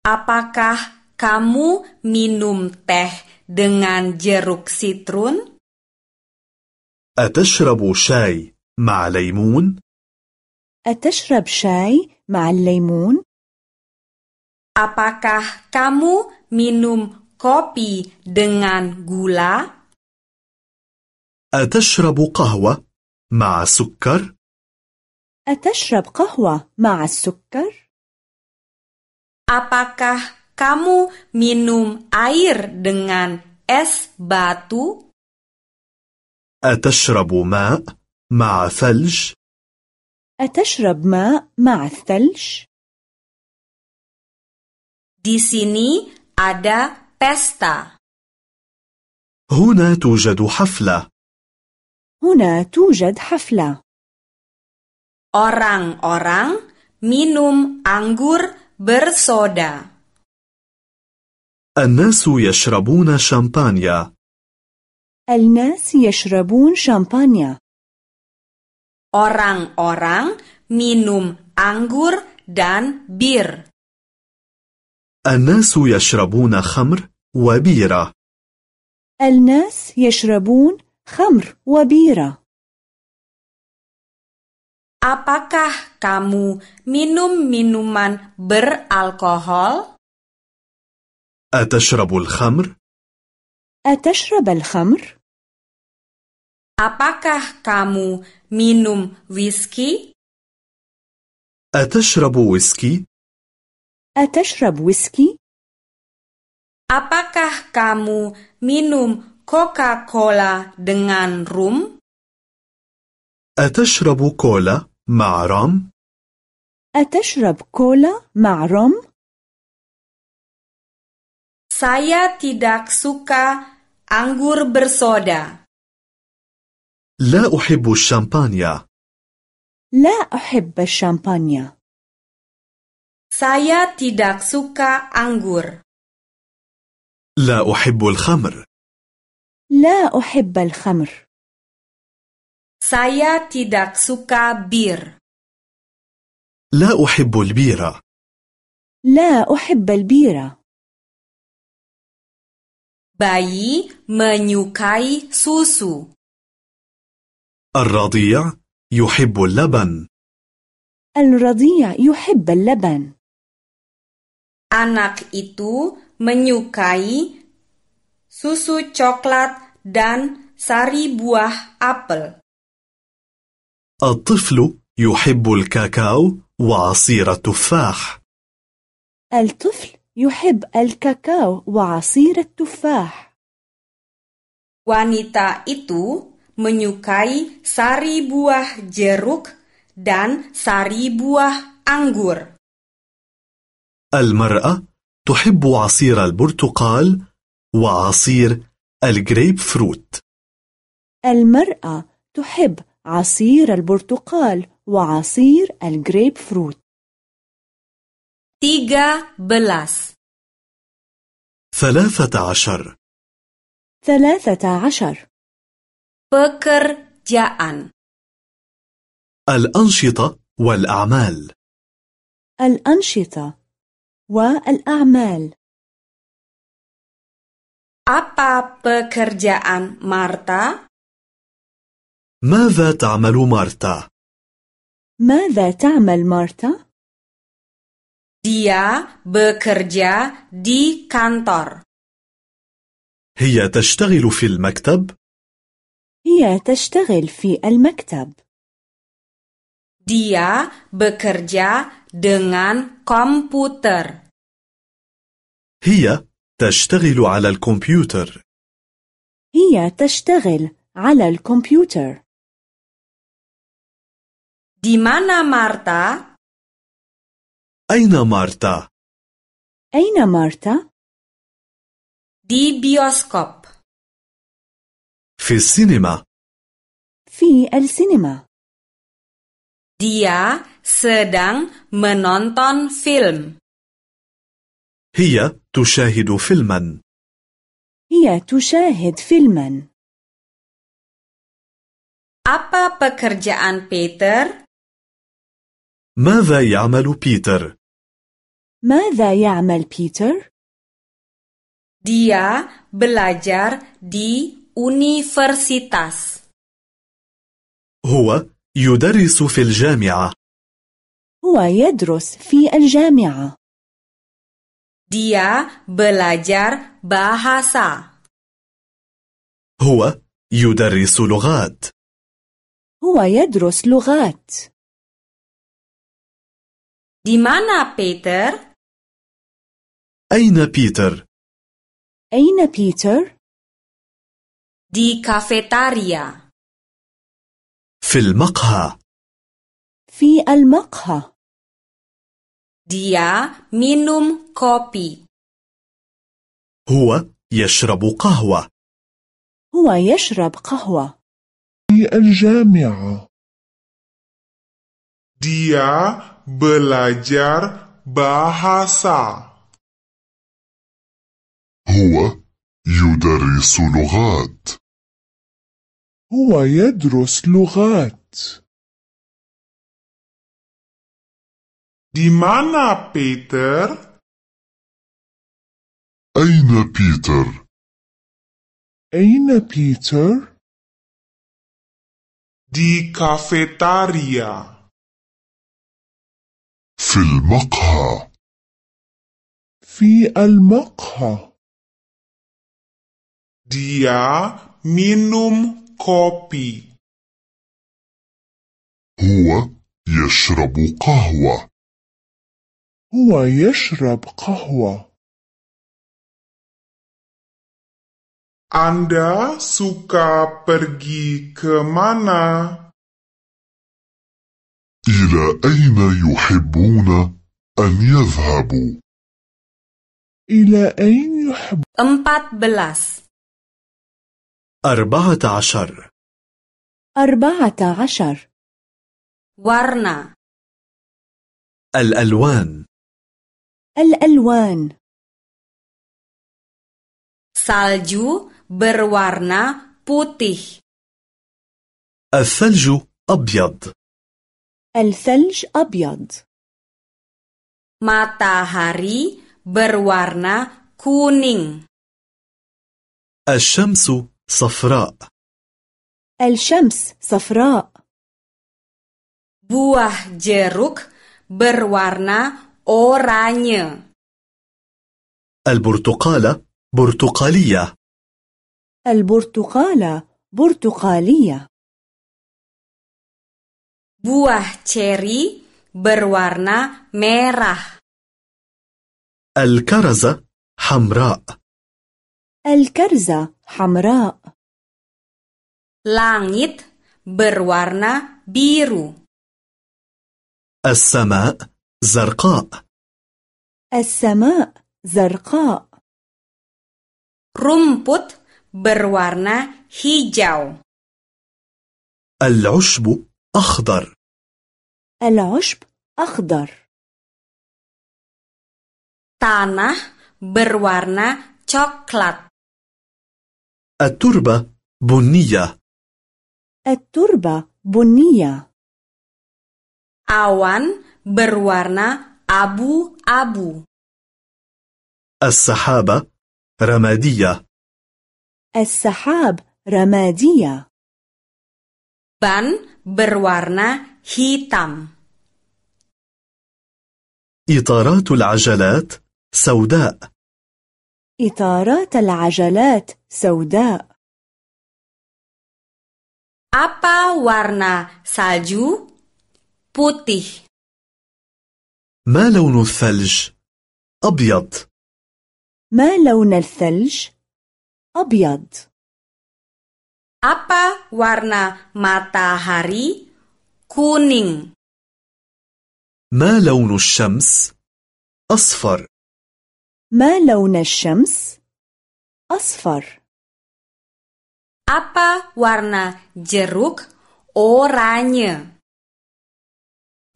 Speaker 1: Apakah kamu minum teh dengan jeruk sitrun?
Speaker 2: أتشرب شاي مع ليمون؟
Speaker 3: أتشرب شاي مع الليمون؟
Speaker 1: Apakah kamu minum kopi dengan gula?
Speaker 2: أتشرب قهوة مع سكر؟
Speaker 3: أتشرب قهوة مع السكر؟
Speaker 1: Apakah kamu minum air dengan es batu?
Speaker 2: أتشرب ماء مع ثلج؟
Speaker 3: أتشرب ماء مع الثلج؟
Speaker 1: Di sini ada pesta.
Speaker 2: هنا توجد حفلة
Speaker 3: هنا توجد حفلة
Speaker 1: Orang-orang minum anggur bersoda.
Speaker 2: الناس يشربون شامبانيا
Speaker 3: الناس يشربون شامبانيا
Speaker 1: Orang-orang minum anggur dan bir.
Speaker 2: الناس يشربون خمر وبيرة
Speaker 3: الناس يشربون خمر وبيرة
Speaker 1: Apakah kamu minum minuman beralkohol?
Speaker 2: أتشرب الخمر؟
Speaker 3: أتشرب الخمر؟
Speaker 1: Apakah kamu minum whisky?
Speaker 2: أتشرب ويسكي؟
Speaker 3: أتشرب ويسكي؟
Speaker 1: Apakah kamu minum Coca-Cola dengan rum?
Speaker 2: أتشرب كولا مع رام؟
Speaker 3: أتشرب كولا مع روم؟
Speaker 1: Saya tidak suka anggur bersoda.
Speaker 2: لا أحب الشامبانيا
Speaker 3: لا أحب الشامبانيا
Speaker 1: Saya tidak suka anggur.
Speaker 2: لا أحب الخمر
Speaker 3: لا أحب الخمر
Speaker 1: Saya tidak suka bir.
Speaker 2: لا أحب البيرة
Speaker 3: لا أحب البيرة
Speaker 1: Bayi menyukai susu.
Speaker 2: الرضيع يحب اللبن
Speaker 3: الرضيع يحب اللبن
Speaker 1: Anak itu menyukai susu coklat dan sari buah apel.
Speaker 2: الطفل يحب الكاكاو وعصير التفاح
Speaker 3: الطفل يحب الكاكاو وعصير التفاح
Speaker 1: Wanita itu menyukai sari buah jeruk dan sari buah anggur.
Speaker 2: المرأة تحب عصير البرتقال وعصير الجريب فروت
Speaker 3: المرأة تحب عصير البرتقال وعصير الجريب فروت
Speaker 1: 13.
Speaker 2: ثلاثة عشر
Speaker 3: ثلاثة عشر
Speaker 1: Pekerjaan
Speaker 2: الأنشطة والأعمال
Speaker 3: الأنشطة والأعمال
Speaker 1: Apa pekerjaan Marta?
Speaker 2: ماذا تعمل مارتا؟
Speaker 3: ماذا تعمل مارتا؟
Speaker 1: Dia bekerja di kantor.
Speaker 2: هي تشتغل في المكتب
Speaker 3: هي تشتغل في المكتب
Speaker 1: Dia bekerja dengan komputer.
Speaker 2: هي تشتغل على الكمبيوتر
Speaker 3: هي تشتغل على الكمبيوتر
Speaker 1: Di mana Marta?
Speaker 2: أين مارتا؟
Speaker 3: أين مارتا؟
Speaker 1: Di bioskop.
Speaker 2: في السينما
Speaker 3: في السينما
Speaker 1: Dia sedang menonton film.
Speaker 2: هي تشاهد فيلما
Speaker 3: هي تشاهد فيلما
Speaker 1: Apa pekerjaan Peter?
Speaker 2: ماذا يعمل بيتر؟
Speaker 3: ماذا يعمل بيتر؟
Speaker 1: Dia belajar di universitas.
Speaker 2: هو يدرس في الجامعة
Speaker 3: هو يدرس في الجامعة
Speaker 1: Dia belajar bahasa.
Speaker 2: هو يدرس لغات
Speaker 3: هو يدرس لغات
Speaker 1: Di mana Peter?
Speaker 2: أين بيتر؟
Speaker 3: أين بيتر؟
Speaker 1: Di kafetaria.
Speaker 2: في المقهى
Speaker 3: في المقهى
Speaker 1: Dia minum kopi.
Speaker 2: هو يشرب قهوة
Speaker 3: هو يشرب قهوة
Speaker 4: في الجامعة
Speaker 5: Dia belajar bahasa.
Speaker 6: هو يدرس لغات
Speaker 4: هو يدرس لغات
Speaker 5: Di mana Peter?
Speaker 6: أين بيتر؟
Speaker 4: أين بيتر؟
Speaker 5: Di kafetaria.
Speaker 6: في المقهى
Speaker 4: في المقهى
Speaker 5: Dia minum kopi.
Speaker 6: هو يشرب قهوة
Speaker 4: هو يشرب قهوة
Speaker 5: Anda suka pergi ke mana?
Speaker 6: إلى أين يحبون أن يذهبوا؟
Speaker 4: إلى أين يحب
Speaker 1: 14.
Speaker 2: أربعة عشر
Speaker 3: أربعة عشر
Speaker 1: Warna.
Speaker 2: الألوان
Speaker 3: الألوان
Speaker 1: Salju berwarna putih.
Speaker 2: الثلج أبيض
Speaker 3: الثلج أبيض
Speaker 1: Matahari berwarna kuning.
Speaker 2: الشمس صفراء
Speaker 3: الشمس صفراء
Speaker 1: Buah jeruk berwarna oranye.
Speaker 2: البرتقالة برتقالية
Speaker 3: البرتقالة برتقالية
Speaker 1: Buah ceri berwarna merah.
Speaker 2: الكرزة حمراء
Speaker 3: الكرزة حمراء
Speaker 1: Langit berwarna biru.
Speaker 2: السماء زرقاء
Speaker 3: السماء زرقاء
Speaker 1: Rumput berwarna hijau.
Speaker 2: العشب أخضر
Speaker 3: العشب أخضر
Speaker 1: Tanah berwarna coklat.
Speaker 2: التربة بنية
Speaker 3: التربة بنية
Speaker 1: Awan berwarna abu-abu.
Speaker 2: السحابة رمادية
Speaker 3: السحاب رمادية
Speaker 1: Ban berwarna hitam.
Speaker 2: إطارات العجلات سوداء
Speaker 3: إطارات العجلات سوداء
Speaker 1: Apa warna salju? Putih.
Speaker 2: ما لون الثلج؟ أبيض
Speaker 3: ما لون الثلج؟ أبيض
Speaker 1: Apa warna matahari? Kuning.
Speaker 2: ما لون الشمس؟ أصفر
Speaker 3: ما لون الشمس؟ أصفر
Speaker 1: Apa warna jeruk? Oranye.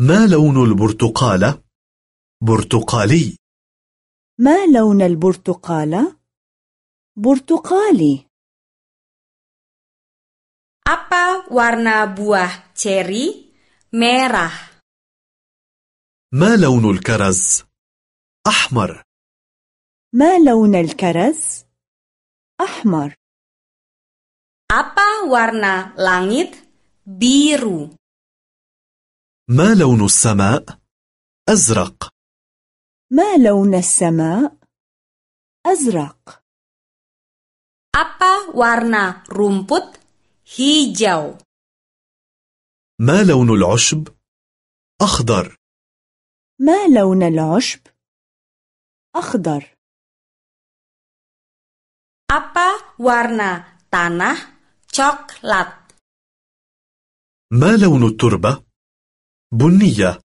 Speaker 2: ما لون البرتقالة؟ برتقالي
Speaker 3: ما لون البرتقالة؟ برتقالي
Speaker 1: Apa warna buah ceri? Merah.
Speaker 2: ما لون الكرز؟ أحمر
Speaker 3: ما لون الكرز؟ أحمر
Speaker 1: Apa warna langit? Biru.
Speaker 2: ما لون السماء؟ أزرق
Speaker 3: ما لون السماء؟ أزرق
Speaker 1: Apa warna rumput? Hijau.
Speaker 2: ما لون العشب؟ أخضر
Speaker 3: ما لون العشب؟ أخضر
Speaker 1: Apa warna tanah? Coklat.
Speaker 2: ما لون التربة؟ بنية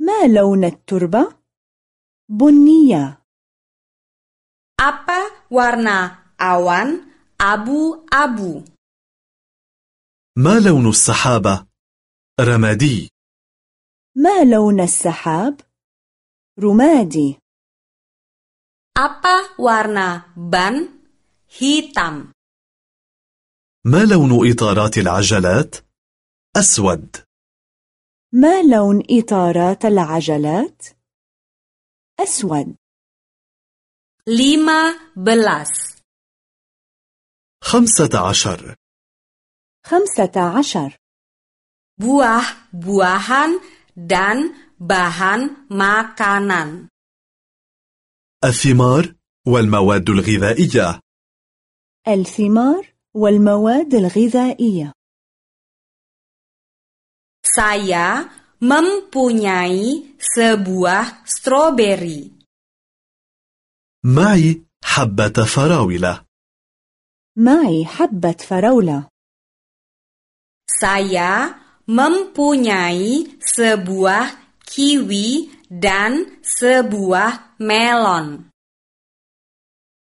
Speaker 3: ما لون التربة؟ بنية
Speaker 1: Apa warna awan? Abu-abu.
Speaker 2: ما لون السحابة؟ رمادي
Speaker 3: ما لون السحاب؟ رمادي
Speaker 1: Apa warna ban? Hitam.
Speaker 2: ما لون إطارات العجلات؟ أسود
Speaker 3: ما لون إطارات العجلات؟ أسود
Speaker 1: Lima belas.
Speaker 2: خمسة عشر
Speaker 3: خمسة عشر
Speaker 1: Buah-buahan dan bahan makanan.
Speaker 2: الثمار والمواد الغذائية
Speaker 3: الثمار والمواد الغذائية
Speaker 1: Saya mempunyai sebuah stroberi.
Speaker 2: معي حبة فراولة
Speaker 3: معي حبة فراولة
Speaker 1: Saya mempunyai sebuah kiwi dan sebuah melon.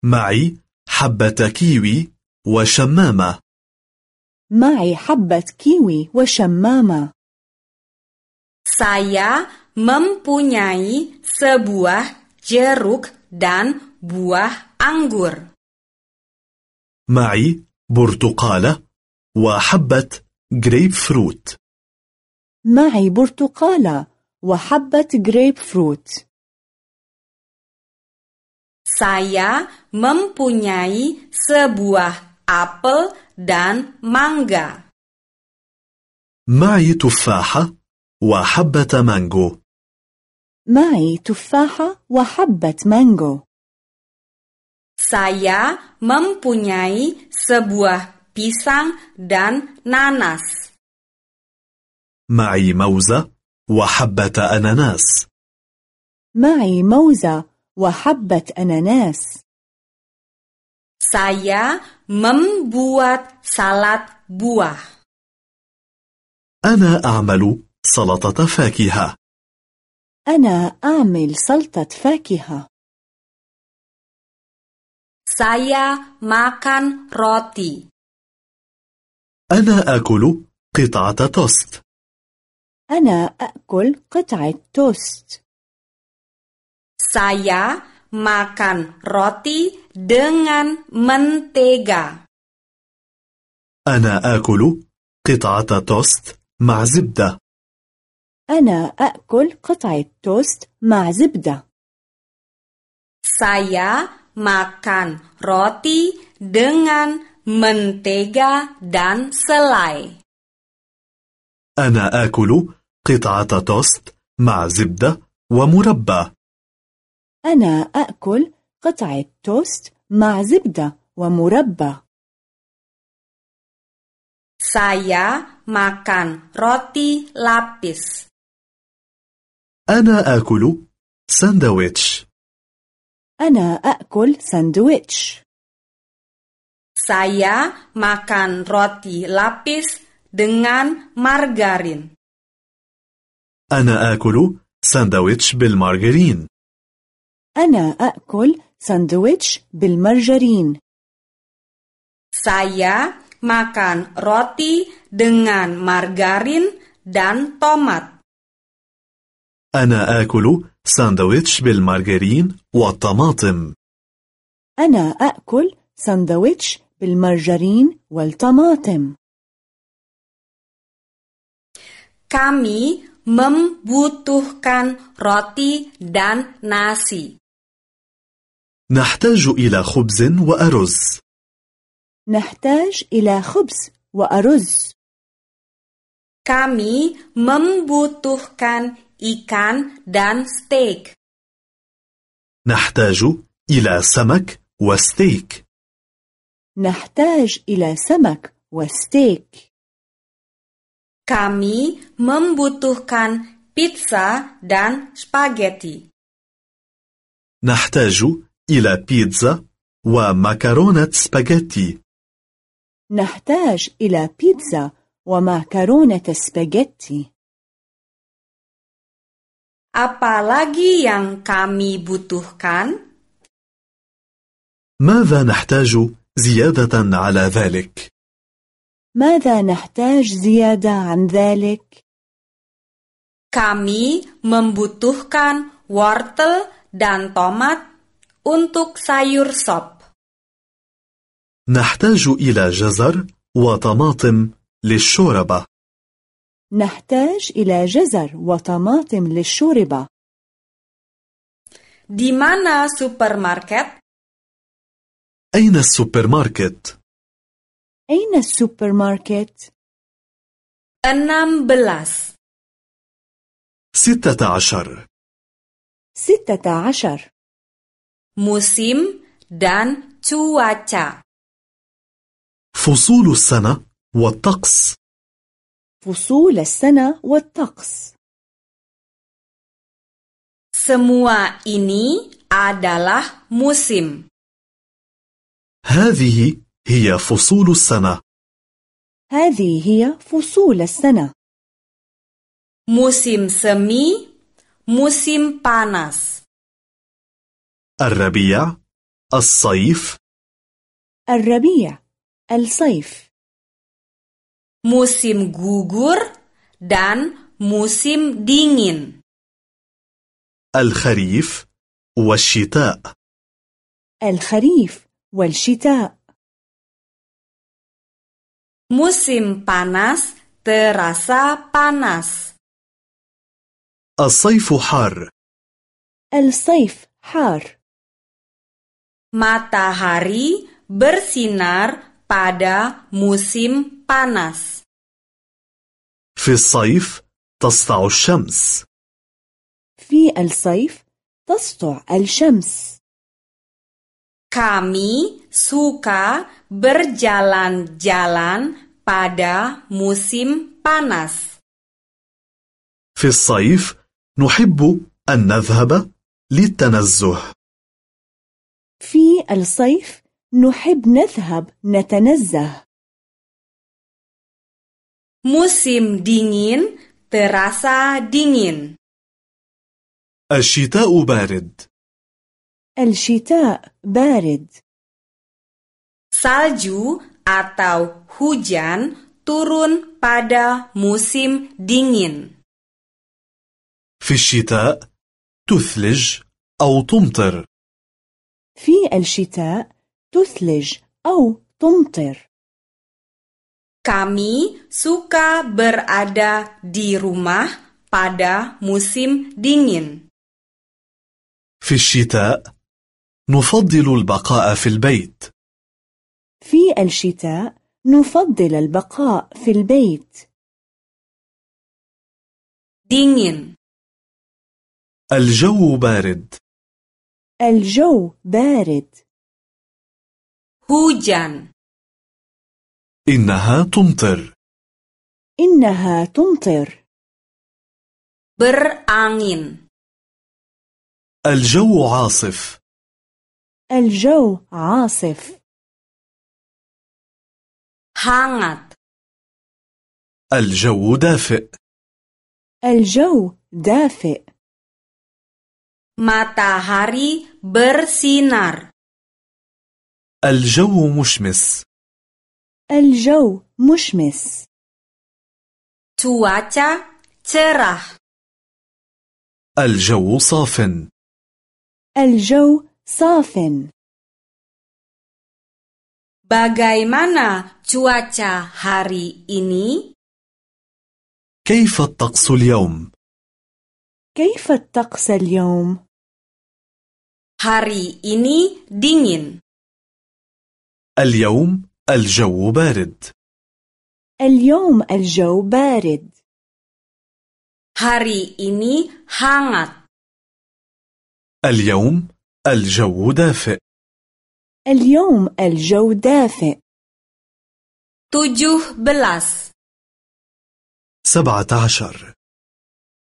Speaker 2: معي حبة كيوي وشمامة
Speaker 3: معي حبة كيوي وشمامة
Speaker 1: Saya mempunyai sebuah jeruk dan buah anggur.
Speaker 2: معي برتقالة وحبة جريب فروت
Speaker 3: معي برتقالة وحبة جريب فروت
Speaker 1: Saya mempunyai sebuah apel dan mangga.
Speaker 2: معي تفاحة وحبة مانجو
Speaker 3: معي تفاحة وحبة مانجو
Speaker 1: Saya mempunyai sebuah pisang dan nanas.
Speaker 2: معي موزة وحبة أناناس
Speaker 3: معي موزة وحبة أناناس
Speaker 1: Saya membuat salad buah.
Speaker 2: أنا أعمل سلطة فاكهة
Speaker 3: أنا أعمل سلطة فاكهة
Speaker 1: Saya makan roti.
Speaker 2: أنا أكل قطعة توست
Speaker 3: أنا أأكل قطعة توست
Speaker 1: Saya makan roti dengan mentega.
Speaker 2: أنا آكل قطعة توست مع زبدة
Speaker 3: أنا أأكل قطعة توست مع زبدة
Speaker 1: Saya makan roti dengan mentega dan selai.
Speaker 2: أنا آكل قطعة توست مع زبدة ومربى
Speaker 3: أنا أأكل قطعة توست مع زبدة ومربى
Speaker 1: Saya makan roti lapis.
Speaker 2: أنا آكل ساندويتش
Speaker 3: أنا أأكل ساندويتش
Speaker 1: Saya makan roti lapis dengan margarin.
Speaker 2: أنا آكل ساندويتش بالمارجرين
Speaker 3: أنا أأكل ساندويتش بالمرجرين
Speaker 1: Saya makan roti dengan margarin dan tomat.
Speaker 2: أنا آكل ساندويتش بالمارجرين والطماطم
Speaker 3: أنا أأكل سندويتش بالمرجرين والطماطم
Speaker 1: Kami membutuhkan roti dan nasi.
Speaker 2: نحتاج إلى خبز وأرز
Speaker 3: نحتاج إلى خبز وأرز
Speaker 1: Kami membutuhkan ikan dan steak.
Speaker 2: نحتاج إلى سمك وستيك
Speaker 3: نحتاج إلى سمك وستيك
Speaker 1: Kami membutuhkan pizza dan spaghetti.
Speaker 2: نحتاج إلى بيتزا ومكرونة سباجيتي
Speaker 3: نحتاج إلى بيتزا ومعكرونة سباجيتي
Speaker 1: Apalagi yang kami butuhkan?
Speaker 2: ماذا نحتاج زيادة على ذلك؟
Speaker 3: ماذا نحتاج زيادة عن ذلك؟
Speaker 1: Kami membutuhkan wortel dan tomat untuk sayur sop.
Speaker 2: نحتاج إلى جزر وطماطم للشوربة
Speaker 3: نحتاج إلى جزر وطماطم للشوربة
Speaker 1: Di mana supermarket?
Speaker 2: أين السوبر ماركت؟
Speaker 3: أين السوبر ماركت؟
Speaker 1: 16.
Speaker 2: 16
Speaker 3: ستة عشر
Speaker 1: Musim dan cuaca.
Speaker 2: فصول السنة والطقس
Speaker 3: فصول السنة والطقس
Speaker 1: Semua ini adalah musim.
Speaker 2: هذه هي فصول السنة
Speaker 3: هذه هي فصول السنة
Speaker 1: Musim semi, musim panas.
Speaker 2: الربيع الصيف
Speaker 3: الربيع الصيف
Speaker 1: Musim gugur dan musim dingin.
Speaker 2: الخريف والشتاء
Speaker 3: الخريف والشتاء
Speaker 1: Musim panas terasa panas.
Speaker 2: الصيف حار
Speaker 3: الصيف حار
Speaker 1: Matahari bersinar pada musim panas.
Speaker 2: في الصيف تسطع الشمس
Speaker 3: في الصيف تسطع الشمس
Speaker 1: Kami suka berjalan-jalan pada musim panas.
Speaker 2: في الصيف نحب أن نذهب للتنزه
Speaker 3: في الصيف نحب نذهب نتنزه
Speaker 1: Musim dingin terasa dingin.
Speaker 2: الشتاء بارد
Speaker 3: الشتاء بارد
Speaker 1: Salju atau hujan turun pada musim dingin.
Speaker 2: في الشتاء تثلج أو تمطر
Speaker 3: في الشتاء تثلج أو تمطر
Speaker 1: Kami suka berada di rumah pada musim dingin.
Speaker 2: في الشتاء نفضل البقاء في البيت
Speaker 3: في الشتاء نفضل البقاء في البيت
Speaker 1: Dingin.
Speaker 2: الجو بارد
Speaker 3: الجو بارد
Speaker 1: Hujan.
Speaker 2: إنها تمطر
Speaker 3: إنها تمطر
Speaker 1: Berangin.
Speaker 2: الجو عاصف
Speaker 3: الجو عاصف
Speaker 1: Hangat.
Speaker 2: الجو دافئ
Speaker 3: الجو دافئ
Speaker 1: Matahari bersinar.
Speaker 2: الجو مشمس
Speaker 3: الجو مشمس
Speaker 1: Cuaca cerah.
Speaker 2: الجو صاف
Speaker 3: الجو صاف
Speaker 1: Bagaimana cuaca hari ini?
Speaker 2: كيف الطقس اليوم؟
Speaker 3: كيف الطقس اليوم؟
Speaker 1: Hari ini dingin.
Speaker 2: اليوم الجو بارد
Speaker 3: اليوم الجو بارد
Speaker 1: Hari ini hangat.
Speaker 2: اليوم الجو دافئ
Speaker 3: اليوم الجو دافئ
Speaker 1: 17.
Speaker 2: سبعة عشر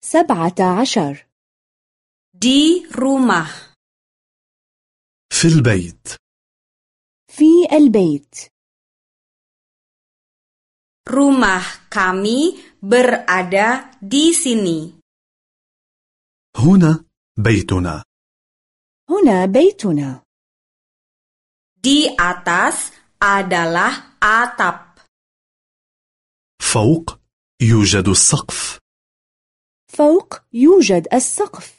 Speaker 3: سبعة عشر
Speaker 1: Di rumah.
Speaker 2: في البيت
Speaker 3: في البيت
Speaker 1: Rumah kami berada di sini.
Speaker 2: هنا بيتنا
Speaker 3: هنا بيتنا
Speaker 1: Di atas adalah atap.
Speaker 2: فوق يوجد السقف
Speaker 3: فوق يوجد السقف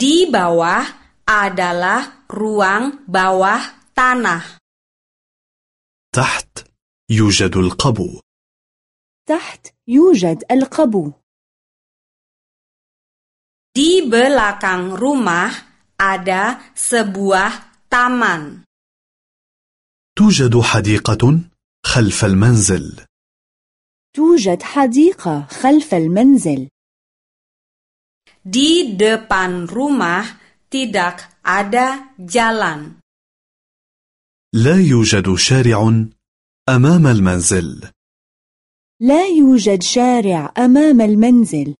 Speaker 1: Di bawah adalah ruang bawah tanah.
Speaker 2: تحت يوجد القبو
Speaker 3: تحت يوجد القبو
Speaker 1: Di belakang rumah ada sebuah taman.
Speaker 2: توجد حديقة خلف المنزل
Speaker 3: توجد حديقة خلف المنزل
Speaker 1: Di depan rumah tidak ada jalan.
Speaker 2: لا يوجد شارع أمام المنزل
Speaker 3: لا يوجد شارع أمام المنزل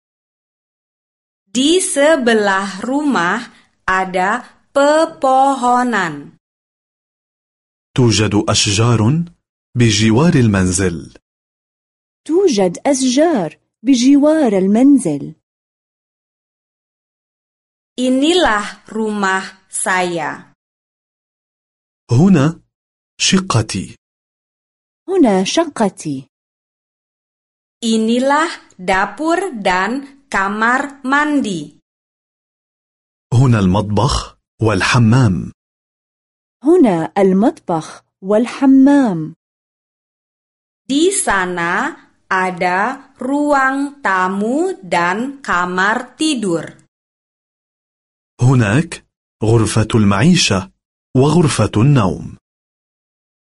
Speaker 1: Di sebelah rumah ada pepohonan.
Speaker 2: توجد أشجار بجوار المنزل
Speaker 3: توجد أشجار بجوار المنزل
Speaker 1: Inilah rumah saya.
Speaker 2: هنا شقتي
Speaker 3: هنا شقتي
Speaker 1: Inilah dapur dan kamar mandi.
Speaker 2: هنا المطبخ والحمام
Speaker 3: هنا المطبخ والحمام
Speaker 1: Di sana ada ruang tamu dan kamar tidur.
Speaker 2: هناك غرفة المعيشة وغرفة النوم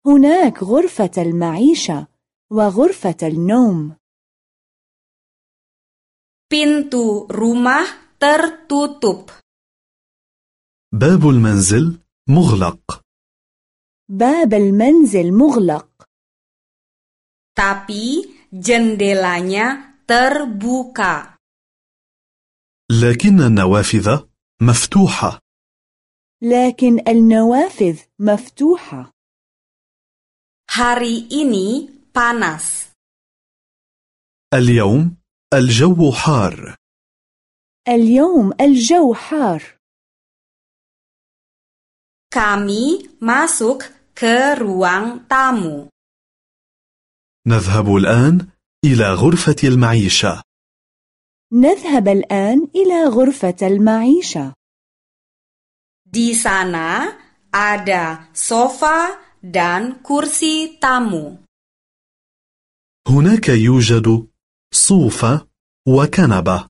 Speaker 3: هناك غرفة المعيشة وغرفة النوم
Speaker 1: Pintu rumah tertutup.
Speaker 2: باب المنزل مغلق
Speaker 3: باب المنزل مغلق
Speaker 1: tapi jendelanya terbuka.
Speaker 2: لكن النوافذ مفتوحة
Speaker 3: لكن النوافذ مفتوحة
Speaker 1: Hari ini panas.
Speaker 2: اليوم الجو حار
Speaker 3: اليوم الجو حار
Speaker 1: Kami masuk ke ruang tamu.
Speaker 2: نذهب الآن إلى غرفة المعيشة
Speaker 3: نذهب الآن إلى غرفة المعيشة
Speaker 1: Di sana ada sofa dan kursi tamu.
Speaker 2: هناك يوجد صوفة وكنبة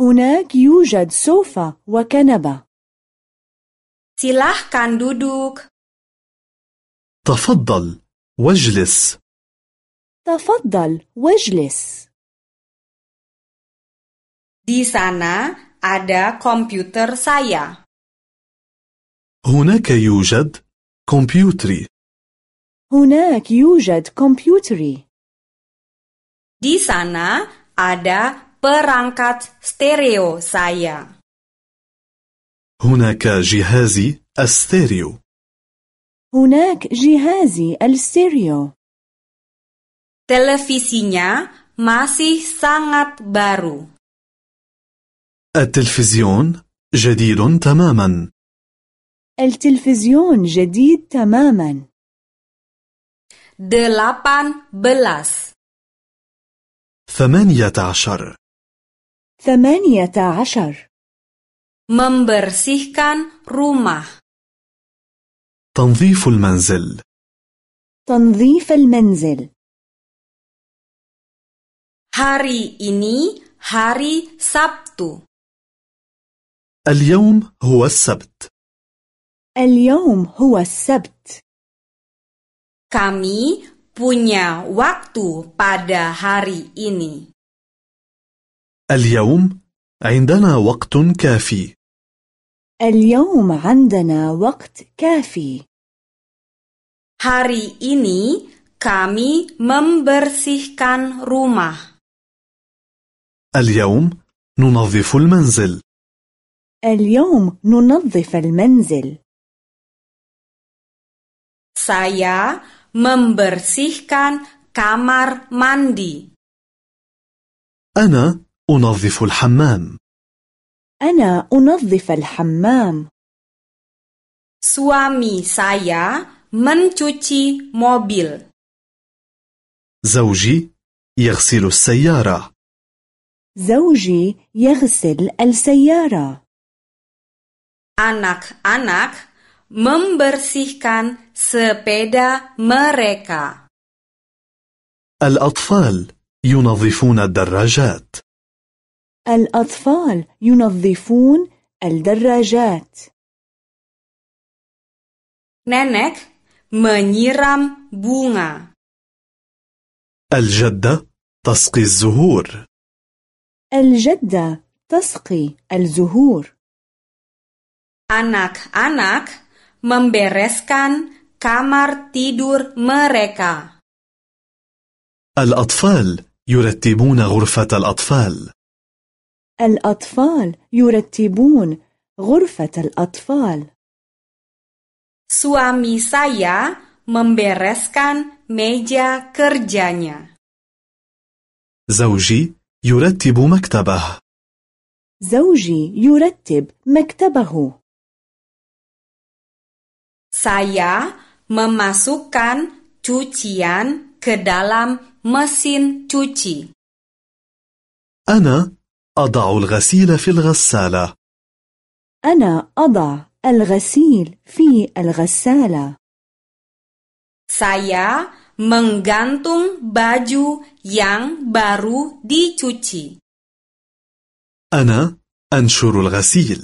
Speaker 3: هناك يوجد سوفة وكنبة
Speaker 1: Silahkan duduk.
Speaker 2: تفضل واجلس
Speaker 3: تفضل واجلس
Speaker 1: Di sana ada komputer saya.
Speaker 2: هناك يوجد كمبيوتري
Speaker 3: هناك يوجد كمبيوتري
Speaker 1: Di sana ada perangkat stereo saya.
Speaker 2: هناك جهازي الستيريو
Speaker 3: هناك جهازي الستيريو
Speaker 1: Televisinya masih sangat baru.
Speaker 2: التلفزيون جديد تماما
Speaker 3: التلفزيون جديد تماما
Speaker 1: Delapan belas.
Speaker 2: ثمانية عشر
Speaker 3: ثمانية عشر
Speaker 1: Membersihkan rumah.
Speaker 2: تنظيف المنزل
Speaker 3: تنظيف المنزل
Speaker 1: Hari ini hari Sabtu.
Speaker 2: اليوم هو السبت
Speaker 3: اليوم هو السبت
Speaker 1: Kami punya waktu pada hari ini.
Speaker 2: اليوم عندنا وقت كافي
Speaker 3: اليوم عندنا وقت كافي
Speaker 1: Hari ini kami membersihkan rumah.
Speaker 2: اليوم ننظف المنزل
Speaker 3: اليوم ننظف المنزل
Speaker 1: Saya membersihkan kamar mandi.
Speaker 2: أنا أنظف الحمام
Speaker 3: أنا أنظف الحمام
Speaker 1: Suami saya mencuci mobil.
Speaker 2: زوجي يغسل السيارة
Speaker 3: زوجي يغسل السيارة
Speaker 1: Anak-anak membersihkan sepeda mereka.
Speaker 2: الأطفال ينظفون الدراجات
Speaker 3: الأطفال ينظفون الدراجات
Speaker 1: Nenek menyiram bunga.
Speaker 2: الجدة تسقي الزهور
Speaker 3: الجدة تسقي الزهور
Speaker 1: Anak-anak membereskan kamar tidur mereka.
Speaker 2: الأطفال يرتبون غرفة الأطفال
Speaker 3: الأطفال يرتبون غرفة الأطفال
Speaker 1: Suami saya membereskan meja kerjanya.
Speaker 2: زوجي يرتب مكتبه
Speaker 3: زوجي يرتب مكتبه
Speaker 1: Saya memasukkan cucian ke dalam mesin cuci.
Speaker 2: أنا أضع الغسيل في الغسالة
Speaker 3: أنا أضع الغسيل في الغسالة
Speaker 1: Saya menggantung baju yang baru dicuci.
Speaker 2: أنا أنشر الغسيل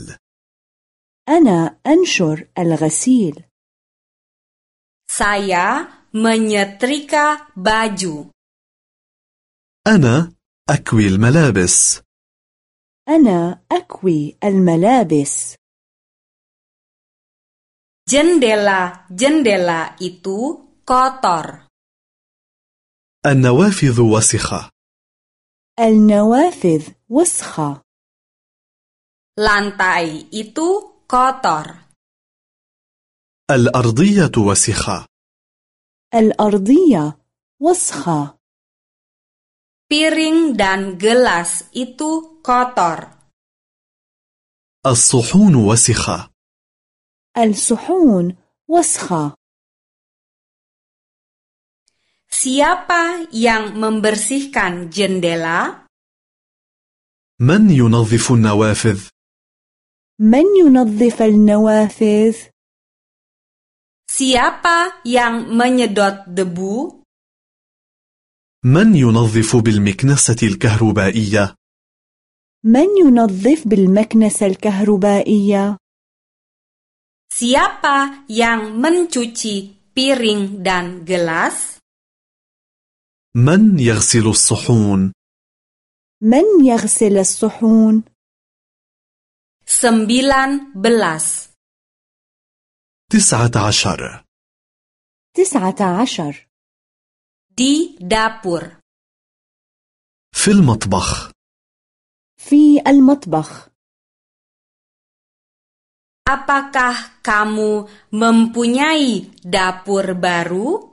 Speaker 3: أنا أنشر الغسيل
Speaker 1: Saya menyetrika baju.
Speaker 2: أنا أكوي الملابس
Speaker 3: أنا أكوي الملابس
Speaker 1: Jendela-jendela itu kotor.
Speaker 2: النوافذ وسخة
Speaker 3: النوافذ وسخة
Speaker 1: Lantai itu kotor.
Speaker 2: الأرضية وسخة
Speaker 3: الأرضية وسخة
Speaker 1: Piring dan gelas itu kotor.
Speaker 2: الصحون وسخة
Speaker 3: الصحون وسخة
Speaker 1: Siapa yang membersihkan jendela?
Speaker 2: من ينظف النوافذ؟
Speaker 3: من ينظف النوافذ؟
Speaker 1: Siapa yang menyedot debu?
Speaker 2: من ينظف بالمكنسة الكهربائية؟
Speaker 3: من ينظف بالمكنسة الكهربائية؟
Speaker 1: Siapa yang mencuci piring dan gelas?
Speaker 2: من يغسل الصحون؟
Speaker 3: من يغسل الصحون؟
Speaker 1: Sembilan belas.
Speaker 2: تسعة عشر
Speaker 3: تسعة عشر
Speaker 1: Di dapur.
Speaker 2: في المطبخ
Speaker 3: في المطبخ
Speaker 1: Apakah kamu mempunyai dapur baru?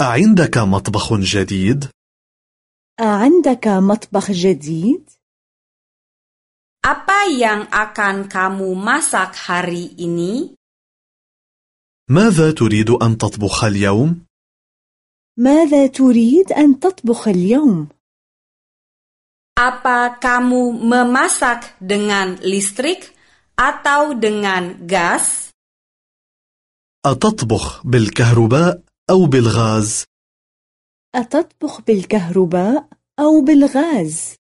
Speaker 2: أعندك مطبخ جديد؟
Speaker 3: عندك مطبخ جديد؟
Speaker 1: Apa yang akan kamu masak hari ini?
Speaker 2: ماذا تريد أن تطبخ اليوم؟
Speaker 3: ماذا تريد أن تطبخ اليوم؟
Speaker 1: Apa kamu memasak dengan listrik atau dengan gas?
Speaker 2: أتطبخ بالكهرباء أو بالغاز؟
Speaker 3: أتطبخ بالكهرباء أو بالغاز؟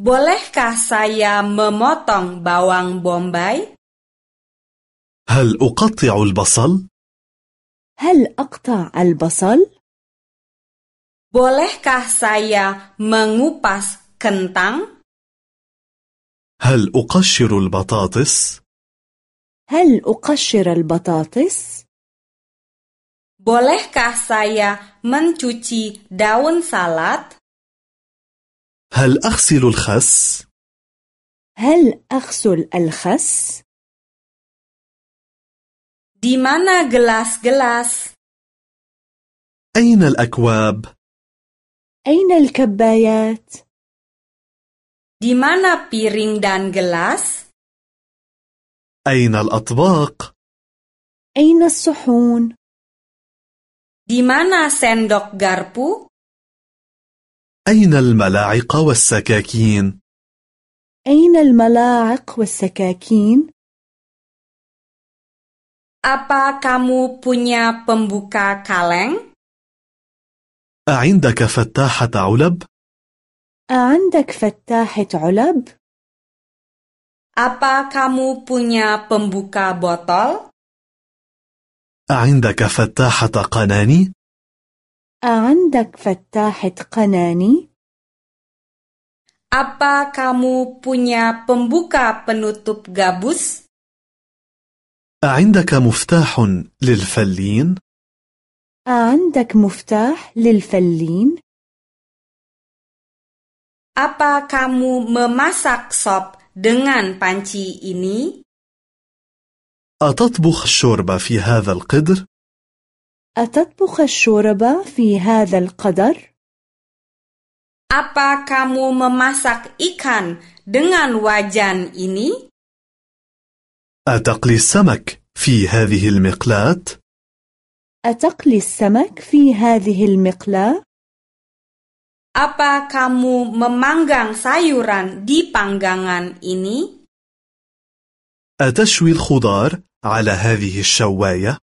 Speaker 1: Bolehkah saya memotong bawang bombay?
Speaker 2: هل أقطع البصل؟
Speaker 3: هل أقطع البصل؟
Speaker 1: Bolehkah saya mengupas kentang?
Speaker 2: هل أقشر البطاطس؟
Speaker 3: هل أقشر البطاطس؟
Speaker 1: Bolehkah saya mencuci daun salad?
Speaker 2: هل أغسل الخس؟
Speaker 3: هل أغسل الخس؟
Speaker 1: Di mana gelas-gelas?
Speaker 2: أين الأكواب؟
Speaker 3: أين الكبايات؟
Speaker 1: Di mana piring dan gelas?
Speaker 2: أين الأطباق؟
Speaker 3: أين الصحون؟
Speaker 1: Di mana sendok garpu?
Speaker 2: أين الملاعق والسكاكين؟
Speaker 3: أين الملاعق والسكاكين؟
Speaker 1: Apa kamu punya pembuka kaleng?
Speaker 2: أعندك فتاحة علب؟
Speaker 3: أعندك فتاحة علب؟
Speaker 1: Apa kamu punya pembuka botol?
Speaker 2: أعندك فتاحة قناني؟
Speaker 3: أعندك فتاحة قناني؟
Speaker 1: Apa kamu punya pembuka penutup gabus?
Speaker 2: أعندك مفتاح للفلين؟
Speaker 3: أعندك مفتاح للفلين؟
Speaker 1: Apa kamu memasak sop dengan panci ini?
Speaker 2: أتطبخ الشوربة في هذا القدر؟
Speaker 3: أتطبخ الشوربة في هذا القدر؟
Speaker 1: Apa kamu memasak ikan dengan wajan ini?
Speaker 2: أتقلي السمك في هذه المقلاة؟
Speaker 3: أتقلي السمك في هذه المقلاة؟
Speaker 1: Apa kamu memanggang sayuran di panggangan ini?
Speaker 2: أتشوي الخضار على هذه الشواية؟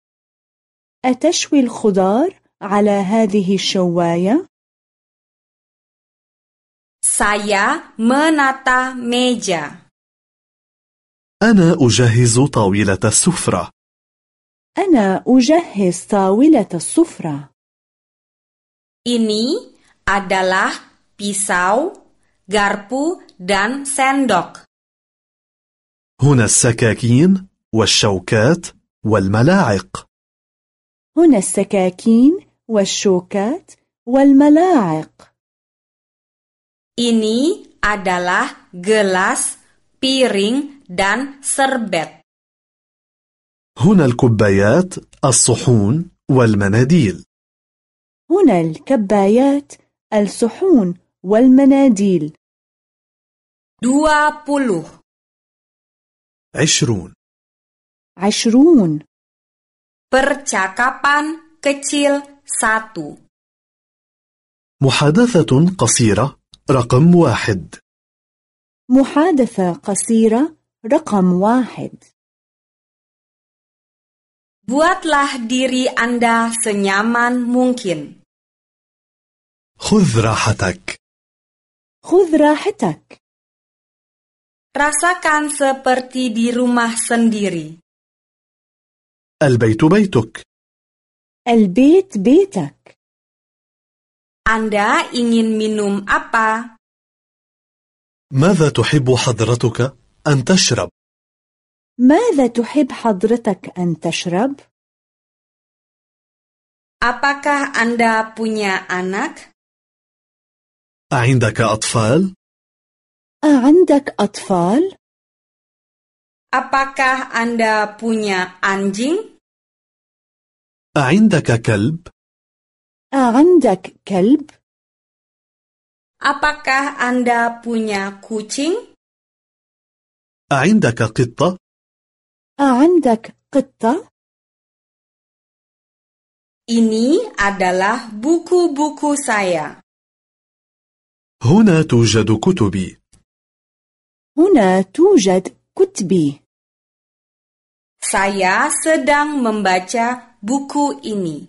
Speaker 3: أتشوي الخضار على هذه الشواية؟
Speaker 1: Saya menata meja.
Speaker 2: أنا أجهز طاولة السفرة
Speaker 3: أنا أجهز طاولة السفرة
Speaker 1: Ini adalah pisau, garpu, dan sendok.
Speaker 2: هنا السكاكين والشوكات والملاعق
Speaker 3: هنا السكاكين والشوكات والملاعق
Speaker 1: Ini adalah gelas, piring, dan serbet.
Speaker 2: هنا الكبايات الصحون والمناديل
Speaker 3: هنا الكبايات الصحون والمناديل
Speaker 1: Dua puluh.
Speaker 2: عشرون
Speaker 3: عشرون
Speaker 1: Percakapan kecil satu.
Speaker 2: محادثة قصيرة رقم واحد
Speaker 3: محادثة قصيرة رقم واحد
Speaker 1: Buatlah diri Anda senyaman mungkin.
Speaker 2: خذ راحتك
Speaker 3: خذ راحتك
Speaker 1: Rasakan seperti di rumah sendiri.
Speaker 2: البيت بيتك
Speaker 3: البيت بيتك
Speaker 1: Anda ingin minum apa?
Speaker 2: ماذا تحب حضرتك أن تشرب؟
Speaker 3: ماذا تحب حضرتك أن تشرب؟
Speaker 1: Apakah Anda punya anak?
Speaker 2: أعندك أطفال؟
Speaker 3: أعندك أطفال؟
Speaker 1: Apakah Anda punya anjing?
Speaker 2: أعندك كلب؟
Speaker 3: أعندك كلب؟
Speaker 1: Apakah Anda punya kucing?
Speaker 2: أعندك قطة؟
Speaker 3: أعندك قطة؟
Speaker 1: Ini adalah buku-buku saya.
Speaker 2: هنا توجد كتبي
Speaker 3: هنا توجد كتبي
Speaker 1: Saya sedang membaca buku ini.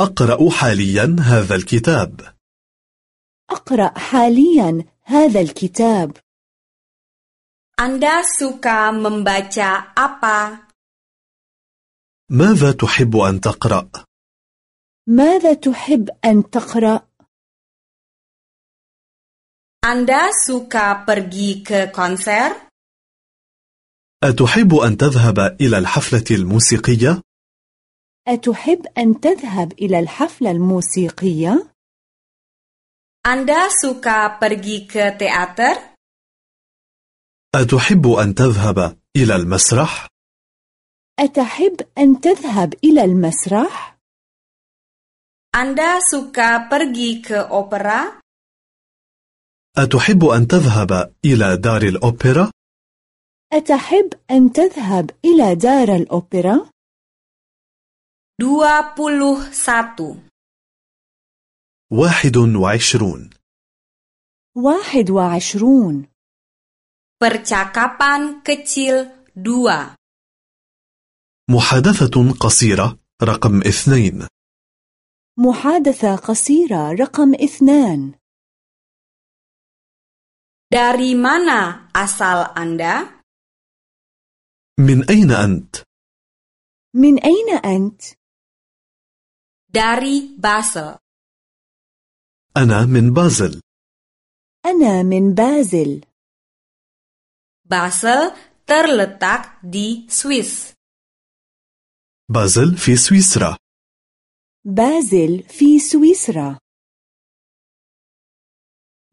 Speaker 2: أقرأ حاليا هذا الكتاب
Speaker 3: أقرأ حاليا هذا الكتاب
Speaker 1: Anda suka membaca apa?
Speaker 2: ماذا تحب أن تقرأ؟
Speaker 3: ماذا تحب أن تقرأ؟
Speaker 1: Anda suka pergi ke konser?
Speaker 2: أتحب أن تذهب إلى الحفلة الموسيقية؟
Speaker 3: أتحب أن تذهب إلى الحفلة الموسيقية؟
Speaker 1: Anda suka pergi ke teater?
Speaker 2: أتحب أن تذهب إلى المسرح؟
Speaker 3: أتحب أن تذهب إلى المسرح؟
Speaker 1: Anda suka pergi ke opera?
Speaker 2: أتحب أن تذهب إلى دار الأوبرا؟
Speaker 3: أتحب أن تذهب إلى دار الأوبرا؟
Speaker 1: 21.
Speaker 2: واحد وعشرون
Speaker 3: 21
Speaker 1: Percakapan kecil 2.
Speaker 2: محادثة قصيرة رقم اثنين
Speaker 3: محادثة قصيرة رقم اثنان
Speaker 1: Dari mana asal Anda?
Speaker 2: من أين أنت؟
Speaker 3: من أين أنت؟
Speaker 1: Dari Basel.
Speaker 2: أنا من بازل
Speaker 3: أنا من بازل
Speaker 1: Basel terletak di Swiss.
Speaker 2: بازل في سويسرا
Speaker 3: بازل في سويسرا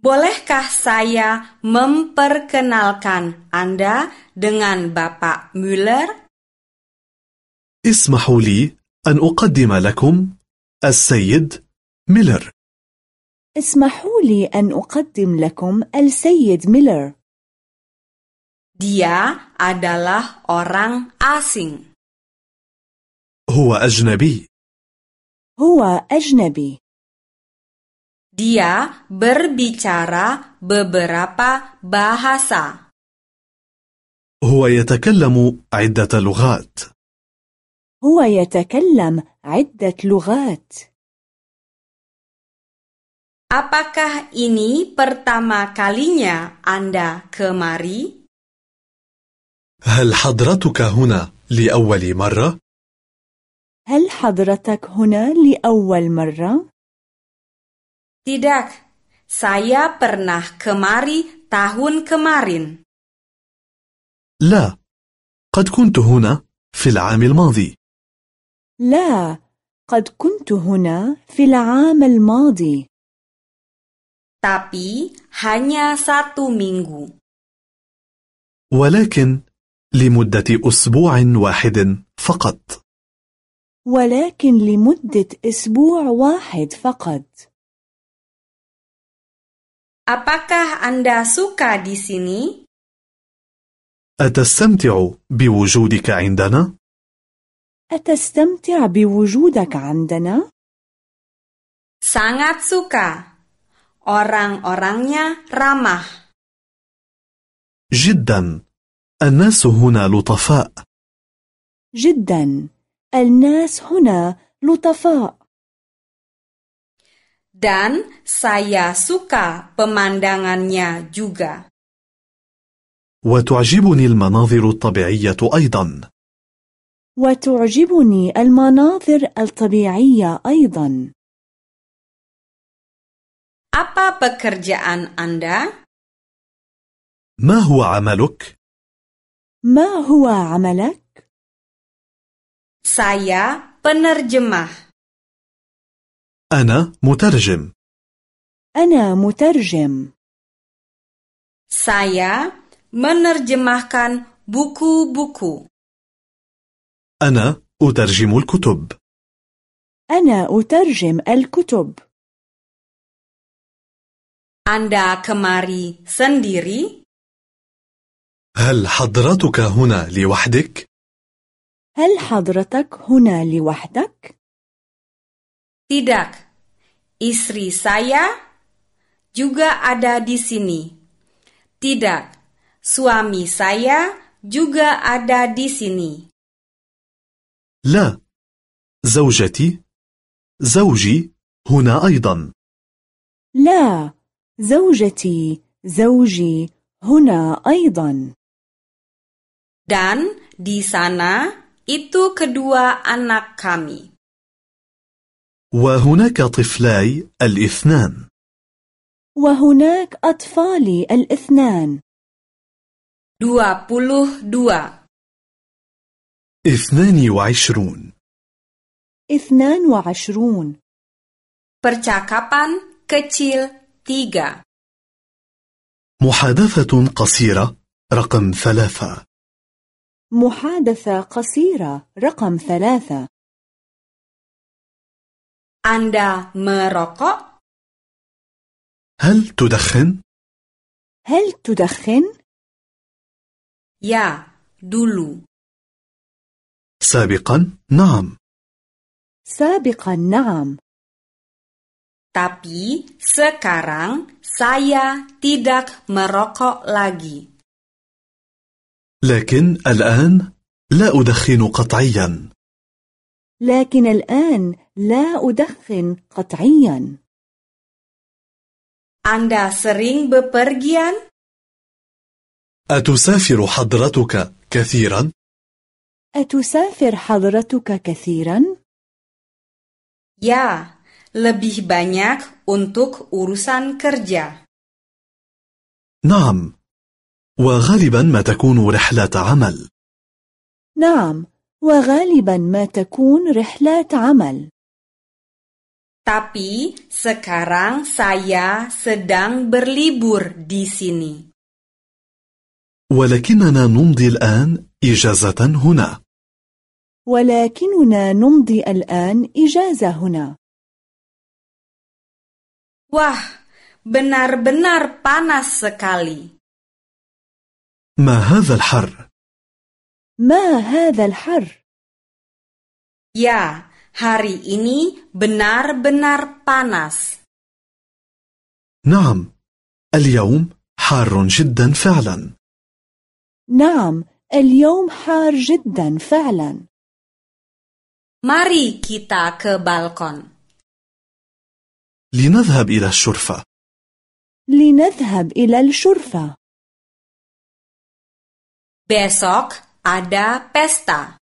Speaker 1: Bolehkah saya memperkenalkan Anda dengan Bapak Müller?
Speaker 2: اسمحوا لي أن أقدم لكم السيد ميلر
Speaker 3: اسمحوا لي أن أقدم لكم السيد ميلر
Speaker 1: Dia adalah orang asing.
Speaker 2: هو أجنبي
Speaker 3: هو أجنبي
Speaker 1: Dia berbicara beberapa bahasa.
Speaker 2: هو يتكلم عدة لغات
Speaker 3: هو يتكلم عدة لغات
Speaker 1: Apakah ini pertama kalinya Anda kemari?
Speaker 2: هل حضرتك هنا لأول مرة؟
Speaker 3: هل حضرتك هنا لأول مرة؟
Speaker 1: Tidak, saya pernah kemari tahun kemarin.
Speaker 2: لا قد كنت هنا في العام الماضي
Speaker 3: لا قد كنت هنا في العام الماضي
Speaker 1: Tapi hanya satu minggu.
Speaker 2: ولكن لمدة أسبوع واحد فقط
Speaker 3: ولكن لمدة أسبوع واحد فقط
Speaker 1: Apakah Anda suka di sini?
Speaker 2: أتستمتع بوجودك عندنا؟
Speaker 3: أتستمتع بوجودك عندنا؟
Speaker 1: Sangat suka. Orang-orangnya ramah.
Speaker 2: جدا الناس هنا لطفاء
Speaker 3: جدا الناس هنا لطفاء
Speaker 1: Dan saya suka pemandangannya juga.
Speaker 2: وتعجبني المناظر الطبيعية أيضا
Speaker 3: وتعجبني المناظر الطبيعية أيضا
Speaker 1: Apa pekerjaan Anda?
Speaker 2: ما هو عملك؟
Speaker 3: ما هو عملك؟
Speaker 1: Saya penerjemah.
Speaker 2: أنا مترجم
Speaker 3: أنا مترجم
Speaker 1: Saya menerjemahkan buku-buku.
Speaker 2: أنا أترجم الكتب
Speaker 3: أنا أترجم الكتب
Speaker 1: Anda kemari sendiri?
Speaker 2: هل حضرتك هنا لوحدك؟
Speaker 3: هل حضرتك هنا لوحدك؟
Speaker 1: Tidak. Istri saya, juga ada di sini. Tidak, suami saya juga ada di sini.
Speaker 2: لا زوجتي زوجي هنا أيضا
Speaker 3: لا زوجتي زوجي هنا أيضا
Speaker 1: Dan di sana itu kedua anak kami.
Speaker 2: وهناك طفلاي الاثنان
Speaker 3: وهناك أطفالي الاثنان
Speaker 1: 22.
Speaker 2: اثنان وعشرون
Speaker 3: اثنان وعشرون
Speaker 1: Percakapan kecil 3.
Speaker 2: محادثة قصيرة رقم ثلاثة
Speaker 3: محادثة قصيرة رقم ثلاثة
Speaker 1: Anda merokok?
Speaker 2: هل تدخن؟
Speaker 3: هل تدخن؟
Speaker 1: Ya, dulu.
Speaker 2: سابقا نعم
Speaker 3: سابقا نعم
Speaker 1: Tapi sekarang saya tidak merokok lagi.
Speaker 2: لكن الآن لا أدخن قطعيا
Speaker 3: لكن الآن لا أدخن قطعيا
Speaker 1: Anda sering bepergian?
Speaker 2: أتسافر حضرتك كثيرا؟
Speaker 3: أتسافر حضرتك كثيرا؟
Speaker 1: Ya, lebih banyak untuk urusan kerja.
Speaker 2: نعم وغالبا ما تكون رحلة عمل
Speaker 3: نعم وغالبا ما تكون رحلات عمل
Speaker 1: Tapi sekarang saya sedang berlibur di sini.
Speaker 2: ولكننا نمضي الآن إجازة هنا
Speaker 3: ولكننا نمضي الآن إجازة هنا
Speaker 1: Wah, benar-benar panas sekali.
Speaker 2: ما هذا الحر؟
Speaker 3: ما هذا الحر؟
Speaker 1: Ya, hari ini benar-benar panas.
Speaker 2: نعم اليوم حار جدا فعلا
Speaker 3: نعم اليوم حار جدا فعلا
Speaker 1: Mari kita ke balkon.
Speaker 2: لنذهب إلى الشرفة
Speaker 3: لنذهب إلى الشرفة
Speaker 1: Besok ada pesta.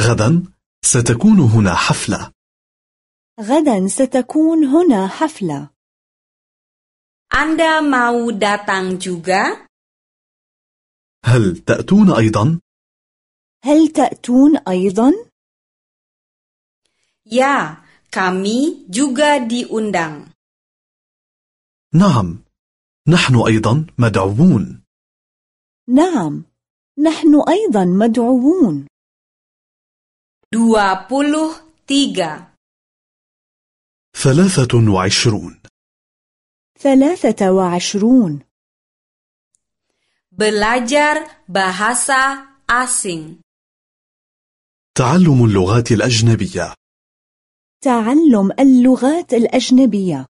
Speaker 2: غدا ستكون هنا حفلة
Speaker 3: غدا ستكون هنا حفلة
Speaker 1: Anda mau datang juga?
Speaker 2: هل تأتون أيضا؟
Speaker 3: هل تأتون أيضا؟
Speaker 1: Ya, kami juga diundang.
Speaker 2: نعم نحن أيضا مدعوون
Speaker 3: نعم نحن أيضا مدعوون
Speaker 1: 23.
Speaker 2: ثلاثة وعشرون
Speaker 3: ثلاثة وعشرون
Speaker 1: Belajar bahasa asing.
Speaker 2: تعلم اللغات الأجنبية
Speaker 3: تعلم اللغات الأجنبية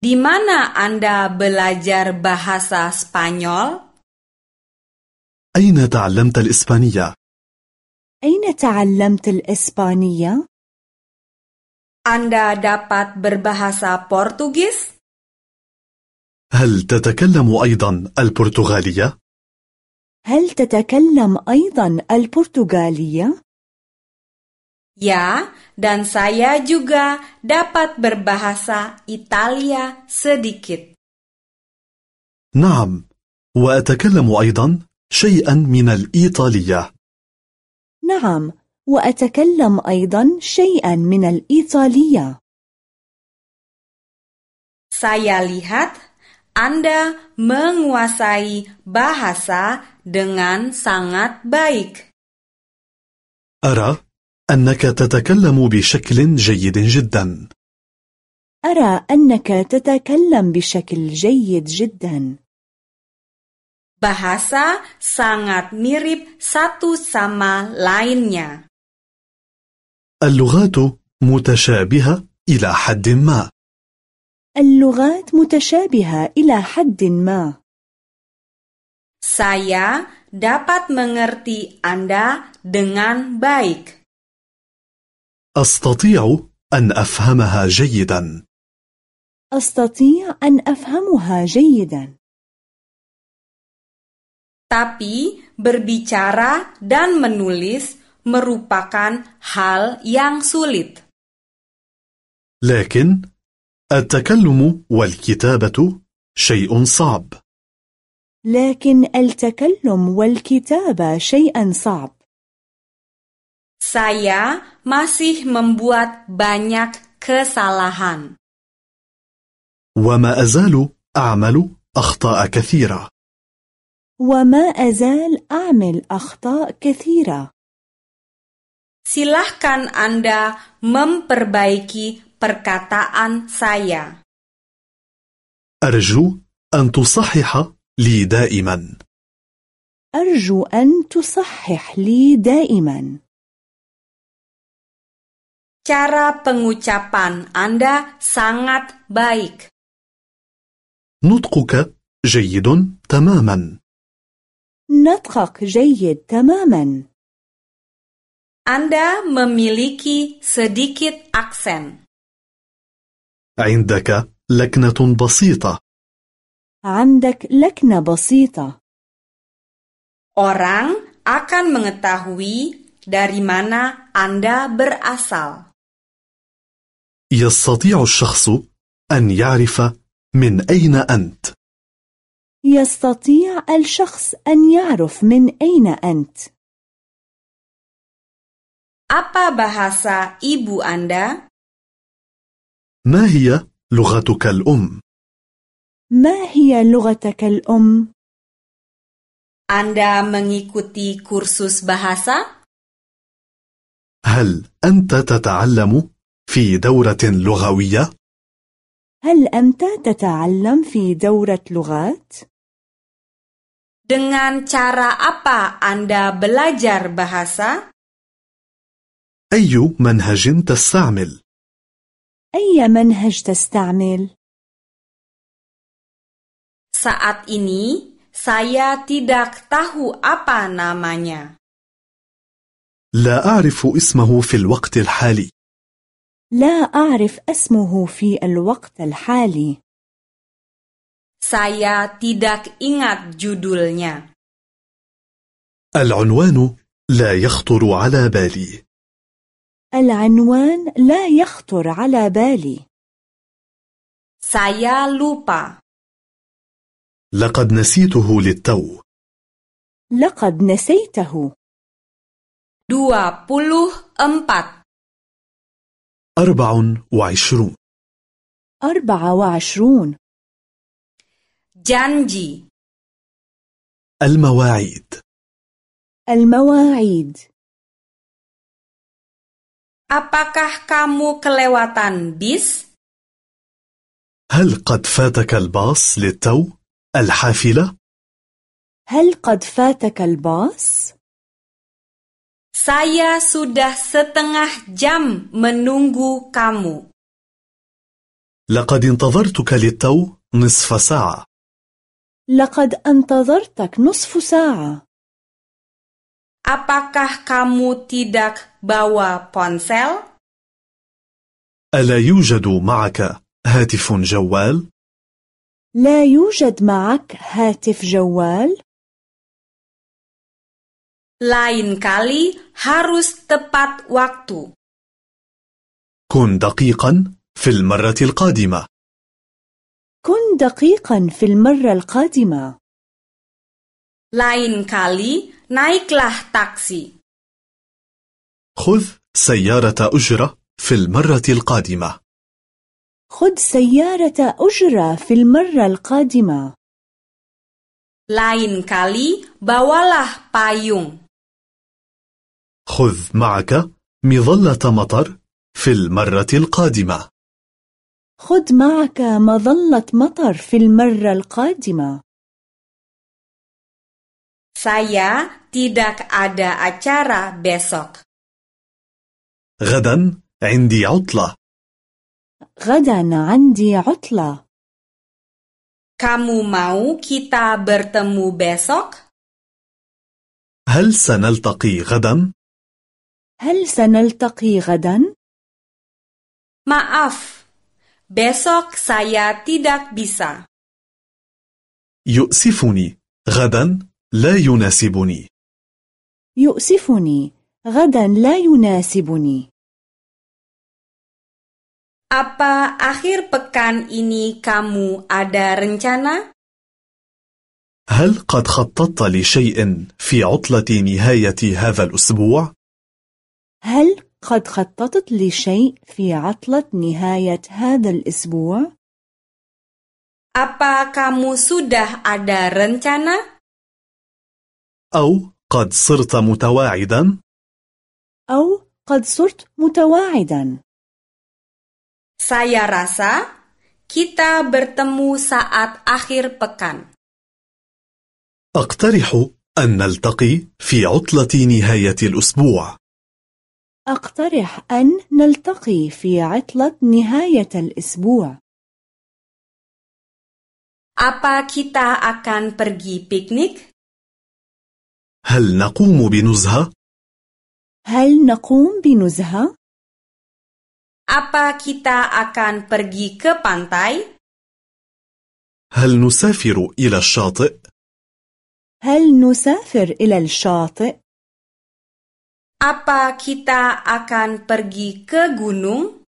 Speaker 1: Di mana Anda belajar bahasa Spanyol?
Speaker 2: أين تعلمت الإسبانية؟
Speaker 3: أين تعلمت الإسبانية؟
Speaker 1: Anda dapat berbahasa Portugis?
Speaker 2: هل تتكلم أيضا البرتغالية؟
Speaker 3: هل تتكلم أيضا البرتغالية؟
Speaker 1: Ya, dan saya juga dapat berbahasa Italia sedikit.
Speaker 2: نعم وأتكلم أيضا شيئا من الإيطالية
Speaker 3: نعم وأتكلم أيضا شيئا من الإيطالية
Speaker 1: Saya lihat Anda menguasai bahasa dengan sangat baik.
Speaker 2: أرى أنك تتكلم بشكل جيد جدا
Speaker 3: أرى أنك تتكلم بشكل جيد جدا
Speaker 1: Bahasa sangat mirip satu sama lainnya.
Speaker 2: اللغات متشابهة إلى حد ما
Speaker 3: اللغات متشابهة إلى حد ما
Speaker 1: Saya dapat mengerti Anda dengan baik.
Speaker 2: أستطيع أن أفهمها جيدا
Speaker 3: أستطيع أن أفهمها جيدا
Speaker 1: Tapi berbicara dan menulis merupakan hal yang sulit.
Speaker 2: لكن التكلم والكتابة شيء صعب
Speaker 3: لكن التكلم والكتابة شيئا صعب
Speaker 1: Saya masih membuat banyak kesalahan.
Speaker 2: وما أزال أعمل أخطاء كثيرة
Speaker 3: وما أزال أعمل أخطاء كثيرة
Speaker 1: Silahkan Anda memperbaiki perkataan saya.
Speaker 2: أرجو أن تصحح لي دائما
Speaker 3: أرجو أن تصحح لي دائما
Speaker 1: Cara pengucapan Anda sangat baik.
Speaker 2: نطقك جيد تماما
Speaker 3: نطقك جيد تماما
Speaker 1: Anda memiliki sedikit aksen.
Speaker 2: عندك لكنة بسيطة
Speaker 3: عندك لكنة بسيطة
Speaker 1: Orang akan mengetahui dari mana Anda berasal.
Speaker 2: يستطيع الشخص أن يعرف من أين أنت
Speaker 3: يستطيع الشخص أن يعرف من أين أنت
Speaker 1: Apa bahasa ibu Anda?
Speaker 2: ما هي لغتك الأم؟
Speaker 3: ما هي لغتك الأم؟
Speaker 1: Anda mengikuti kursus bahasa?
Speaker 2: هل أنت تتعلم في دورة لغوية؟
Speaker 3: هل أنت تتعلم في دورة لغات؟
Speaker 1: Dengan cara apa Anda belajar bahasa?
Speaker 2: أي منهج تستعمل؟
Speaker 3: أي منهج تستعمل؟
Speaker 1: Saat ini saya tidak tahu apa namanya.
Speaker 2: لا أعرف اسمه في الوقت الحالي
Speaker 3: لا أعرف اسمه في الوقت الحالي
Speaker 1: Saya tidak ingat judulnya.
Speaker 2: العنوان لا يخطر على بالي
Speaker 3: العنوان لا يخطر على بالي
Speaker 1: Saya lupa.
Speaker 2: لقد نسيته للتو
Speaker 3: لقد نسيته
Speaker 1: 24.
Speaker 2: أربع وعشرون
Speaker 3: 24
Speaker 1: Janji.
Speaker 2: المواعيد
Speaker 3: المواعيد
Speaker 1: Apakah kamu kelewatan bis?
Speaker 2: هل قد فاتك الباص للتو الحافلة؟
Speaker 3: هل قد فاتك الباص؟
Speaker 1: Saya sudah setengah jam menunggu kamu.
Speaker 2: لقد انتظرتك للتو نصف ساعة
Speaker 3: لقد انتظرتك نصف ساعة
Speaker 1: Apakah kamu tidak bawa ponsel?
Speaker 2: ألا يوجد معك هاتف جوال؟
Speaker 3: لا يوجد معك هاتف جوال
Speaker 1: Lain kali harus tepat waktu.
Speaker 2: كن دقيقا في المرة القادمة
Speaker 3: كن دقيقا في المرة القادمة
Speaker 1: Lain kali naiklah taksi.
Speaker 2: خذ سيارة أجرة في المرة القادمة
Speaker 3: خذ سيارة أجرة في المرة القادمة
Speaker 1: Lain kali bawalah payung.
Speaker 2: خذ معك مظلة مطر في المرة القادمة
Speaker 3: خذ معك مظلة مطر في المرة القادمة
Speaker 1: Saya tidak ada acara besok.
Speaker 2: غدا عندي عطلة
Speaker 3: غدا عندي عطلة
Speaker 1: Kamu mau kita bertemu besok?
Speaker 2: هل سنلتقي غدا؟
Speaker 3: هل سنلتقي غدا؟
Speaker 1: Maaf, besok saya tidak bisa.
Speaker 2: يؤسفني غدا لا يناسبني
Speaker 3: يؤسفني غدا لا يناسبني
Speaker 1: Apa akhir pekan ini kamu ada rencana?
Speaker 2: هل قد خططت لشيء في عطلة نهاية هذا الأسبوع؟
Speaker 3: هل قد خططت لشيء في عطلة نهاية هذا الأسبوع؟
Speaker 1: Apa kamu sudah ada rencana?
Speaker 2: أو قد صرت متواعدا؟
Speaker 3: أو قد صرت متواعدا
Speaker 1: Saya rasa kita bertemu saat akhir pekan.
Speaker 2: أقترح أن نلتقي في عطلة نهاية الأسبوع
Speaker 3: أقترح أن نلتقي في عطلة نهاية الأسبوع
Speaker 1: Apa kita akan pergi piknik?
Speaker 2: هل نقوم بنزهة؟
Speaker 3: هل نقوم بنزهة؟
Speaker 1: Apa kita akan pergi ke pantai?
Speaker 2: هل نسافر إلى الشاطئ؟
Speaker 3: هل نسافر إلى الشاطئ؟
Speaker 1: Apa kita akan pergi ke gunung?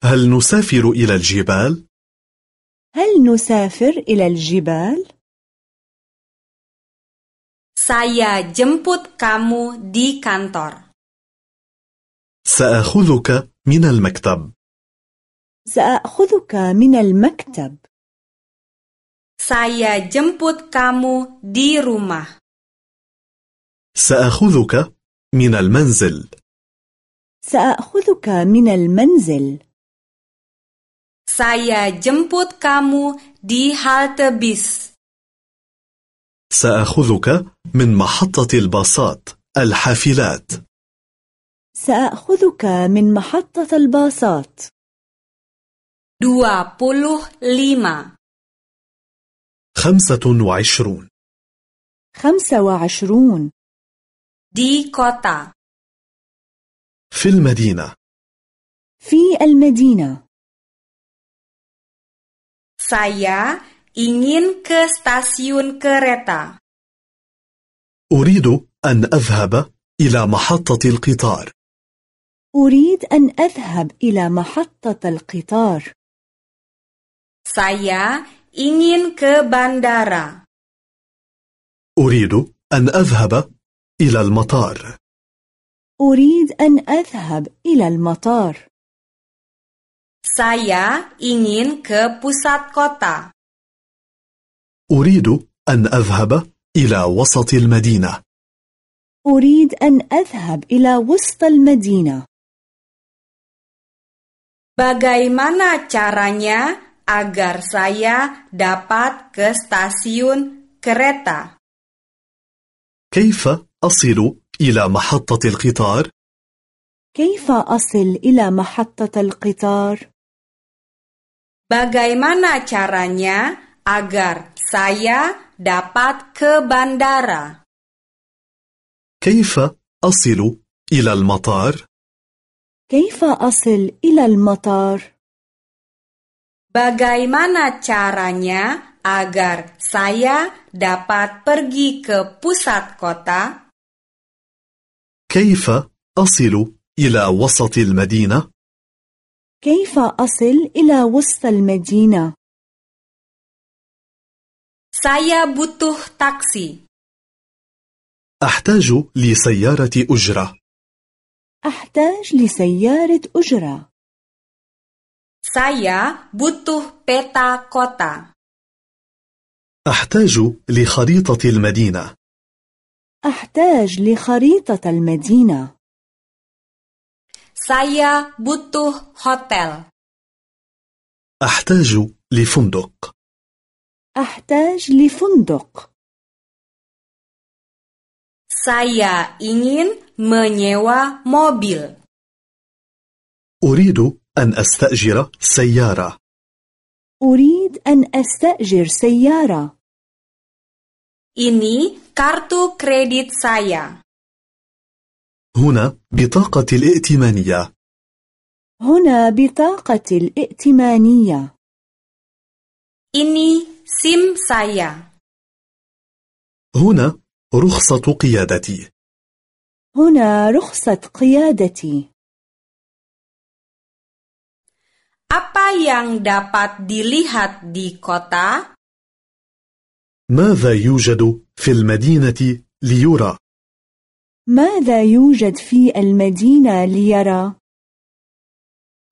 Speaker 2: هل نسافر إلى الجبال؟
Speaker 3: هل نسافر إلى الجبال؟
Speaker 1: Saya jemput kamu di kantor.
Speaker 2: سأخذك من المكتب
Speaker 3: سأخذك من المكتب
Speaker 1: Saya jemput kamu di rumah.
Speaker 2: سأخذك من المنزل
Speaker 3: سأخذك من المنزل
Speaker 1: Saya jemput kamu di halte bis.
Speaker 2: سأخذك من محطة الباصات الحافلات
Speaker 3: سأخذك من محطة الباصات
Speaker 1: 25.
Speaker 2: 25
Speaker 3: 25
Speaker 1: Di kota.
Speaker 2: في المدينة
Speaker 3: في المدينة
Speaker 1: Saya ingin ke stasiun kereta.
Speaker 2: أريد أن أذهب إلى محطة القطار
Speaker 3: أريد أن أذهب إلى محطة القطار
Speaker 1: Saya ingin ke bandara.
Speaker 2: أريد أن أذهب إلى المطار
Speaker 3: أريد أن أذهب إلى المطار
Speaker 1: Saya ingin ke pusat kota.
Speaker 2: أريد أن أذهب إلى وسط المدينة
Speaker 3: أريد أن أذهب إلى وسط المدينة
Speaker 1: Bagaimana caranya agar saya dapat ke stasiun kereta?
Speaker 2: كيف أصل إلى محطة القطار؟
Speaker 3: كيف أصل إلى محطة القطار؟
Speaker 1: Bagaimana caranya agar saya dapat ke bandara?
Speaker 2: كيف أصل إلى المطار؟
Speaker 3: كيف أصل إلى المطار؟
Speaker 1: Bagaimana caranya agar saya dapat pergi ke pusat kota?
Speaker 2: كيف أصل إلى وسط المدينة؟
Speaker 3: كيف أصل إلى وسط المدينة؟
Speaker 1: Saya butuh taksi.
Speaker 2: أحتاج لسيارة أجرة
Speaker 3: أحتاج لسيارة أجرة
Speaker 1: Saya butuh peta kota.
Speaker 2: أحتاج لخريطة المدينة
Speaker 3: أحتاج لخريطة المدينة
Speaker 1: Saya butuh hotel.
Speaker 2: أحتاج لفندق
Speaker 3: أحتاج لفندق
Speaker 1: Saya ingin menyewa mobil.
Speaker 2: أريد أن أستأجر سيارة
Speaker 3: أريد أن أستأجر سيارة
Speaker 1: Ini kartu kredit saya.
Speaker 2: هنا بطاقة الائتمانية
Speaker 3: هنا بطاقة الائتمانية
Speaker 1: Ini SIM saya.
Speaker 2: هنا رخصة قيادتي
Speaker 3: هنا رخصة قيادتي
Speaker 1: Apa yang dapat dilihat di kota?
Speaker 2: ماذا يوجد في المدينة ليرى؟
Speaker 3: ماذا يوجد في المدينة ليرى؟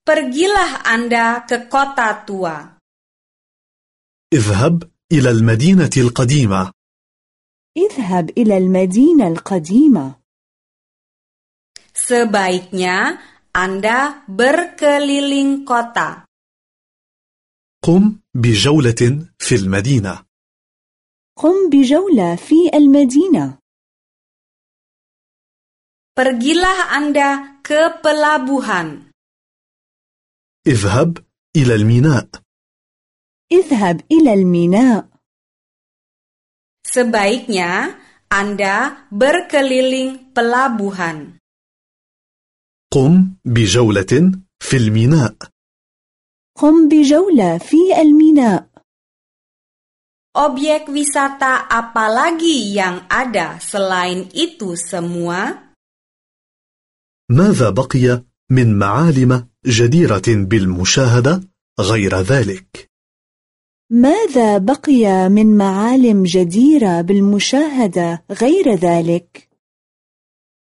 Speaker 1: Pergilah Anda ke kota tua.
Speaker 2: اذهب إلى المدينة القديمة
Speaker 3: اذهب إلى المدينة القديمة
Speaker 1: Sebaiknya Anda berkeliling kota.
Speaker 2: قم بجولة في المدينة
Speaker 3: قم بجولة في المدينة
Speaker 1: Pergilah Anda ke pelabuhan.
Speaker 2: اذهب إلى الميناء
Speaker 3: اذهب إلى الميناء
Speaker 1: Sebaiknya Anda berkeliling pelabuhan.
Speaker 2: قم بجولة في الميناء
Speaker 3: قم بجولة في الميناء
Speaker 1: Objek wisata apa lagi yang ada selain itu semua?
Speaker 2: ماذا بقي من معالم جديرة بالمشاهدة غير ذلك؟
Speaker 3: ماذا بقي من معالم جديرة بالمشاهدة غير ذلك؟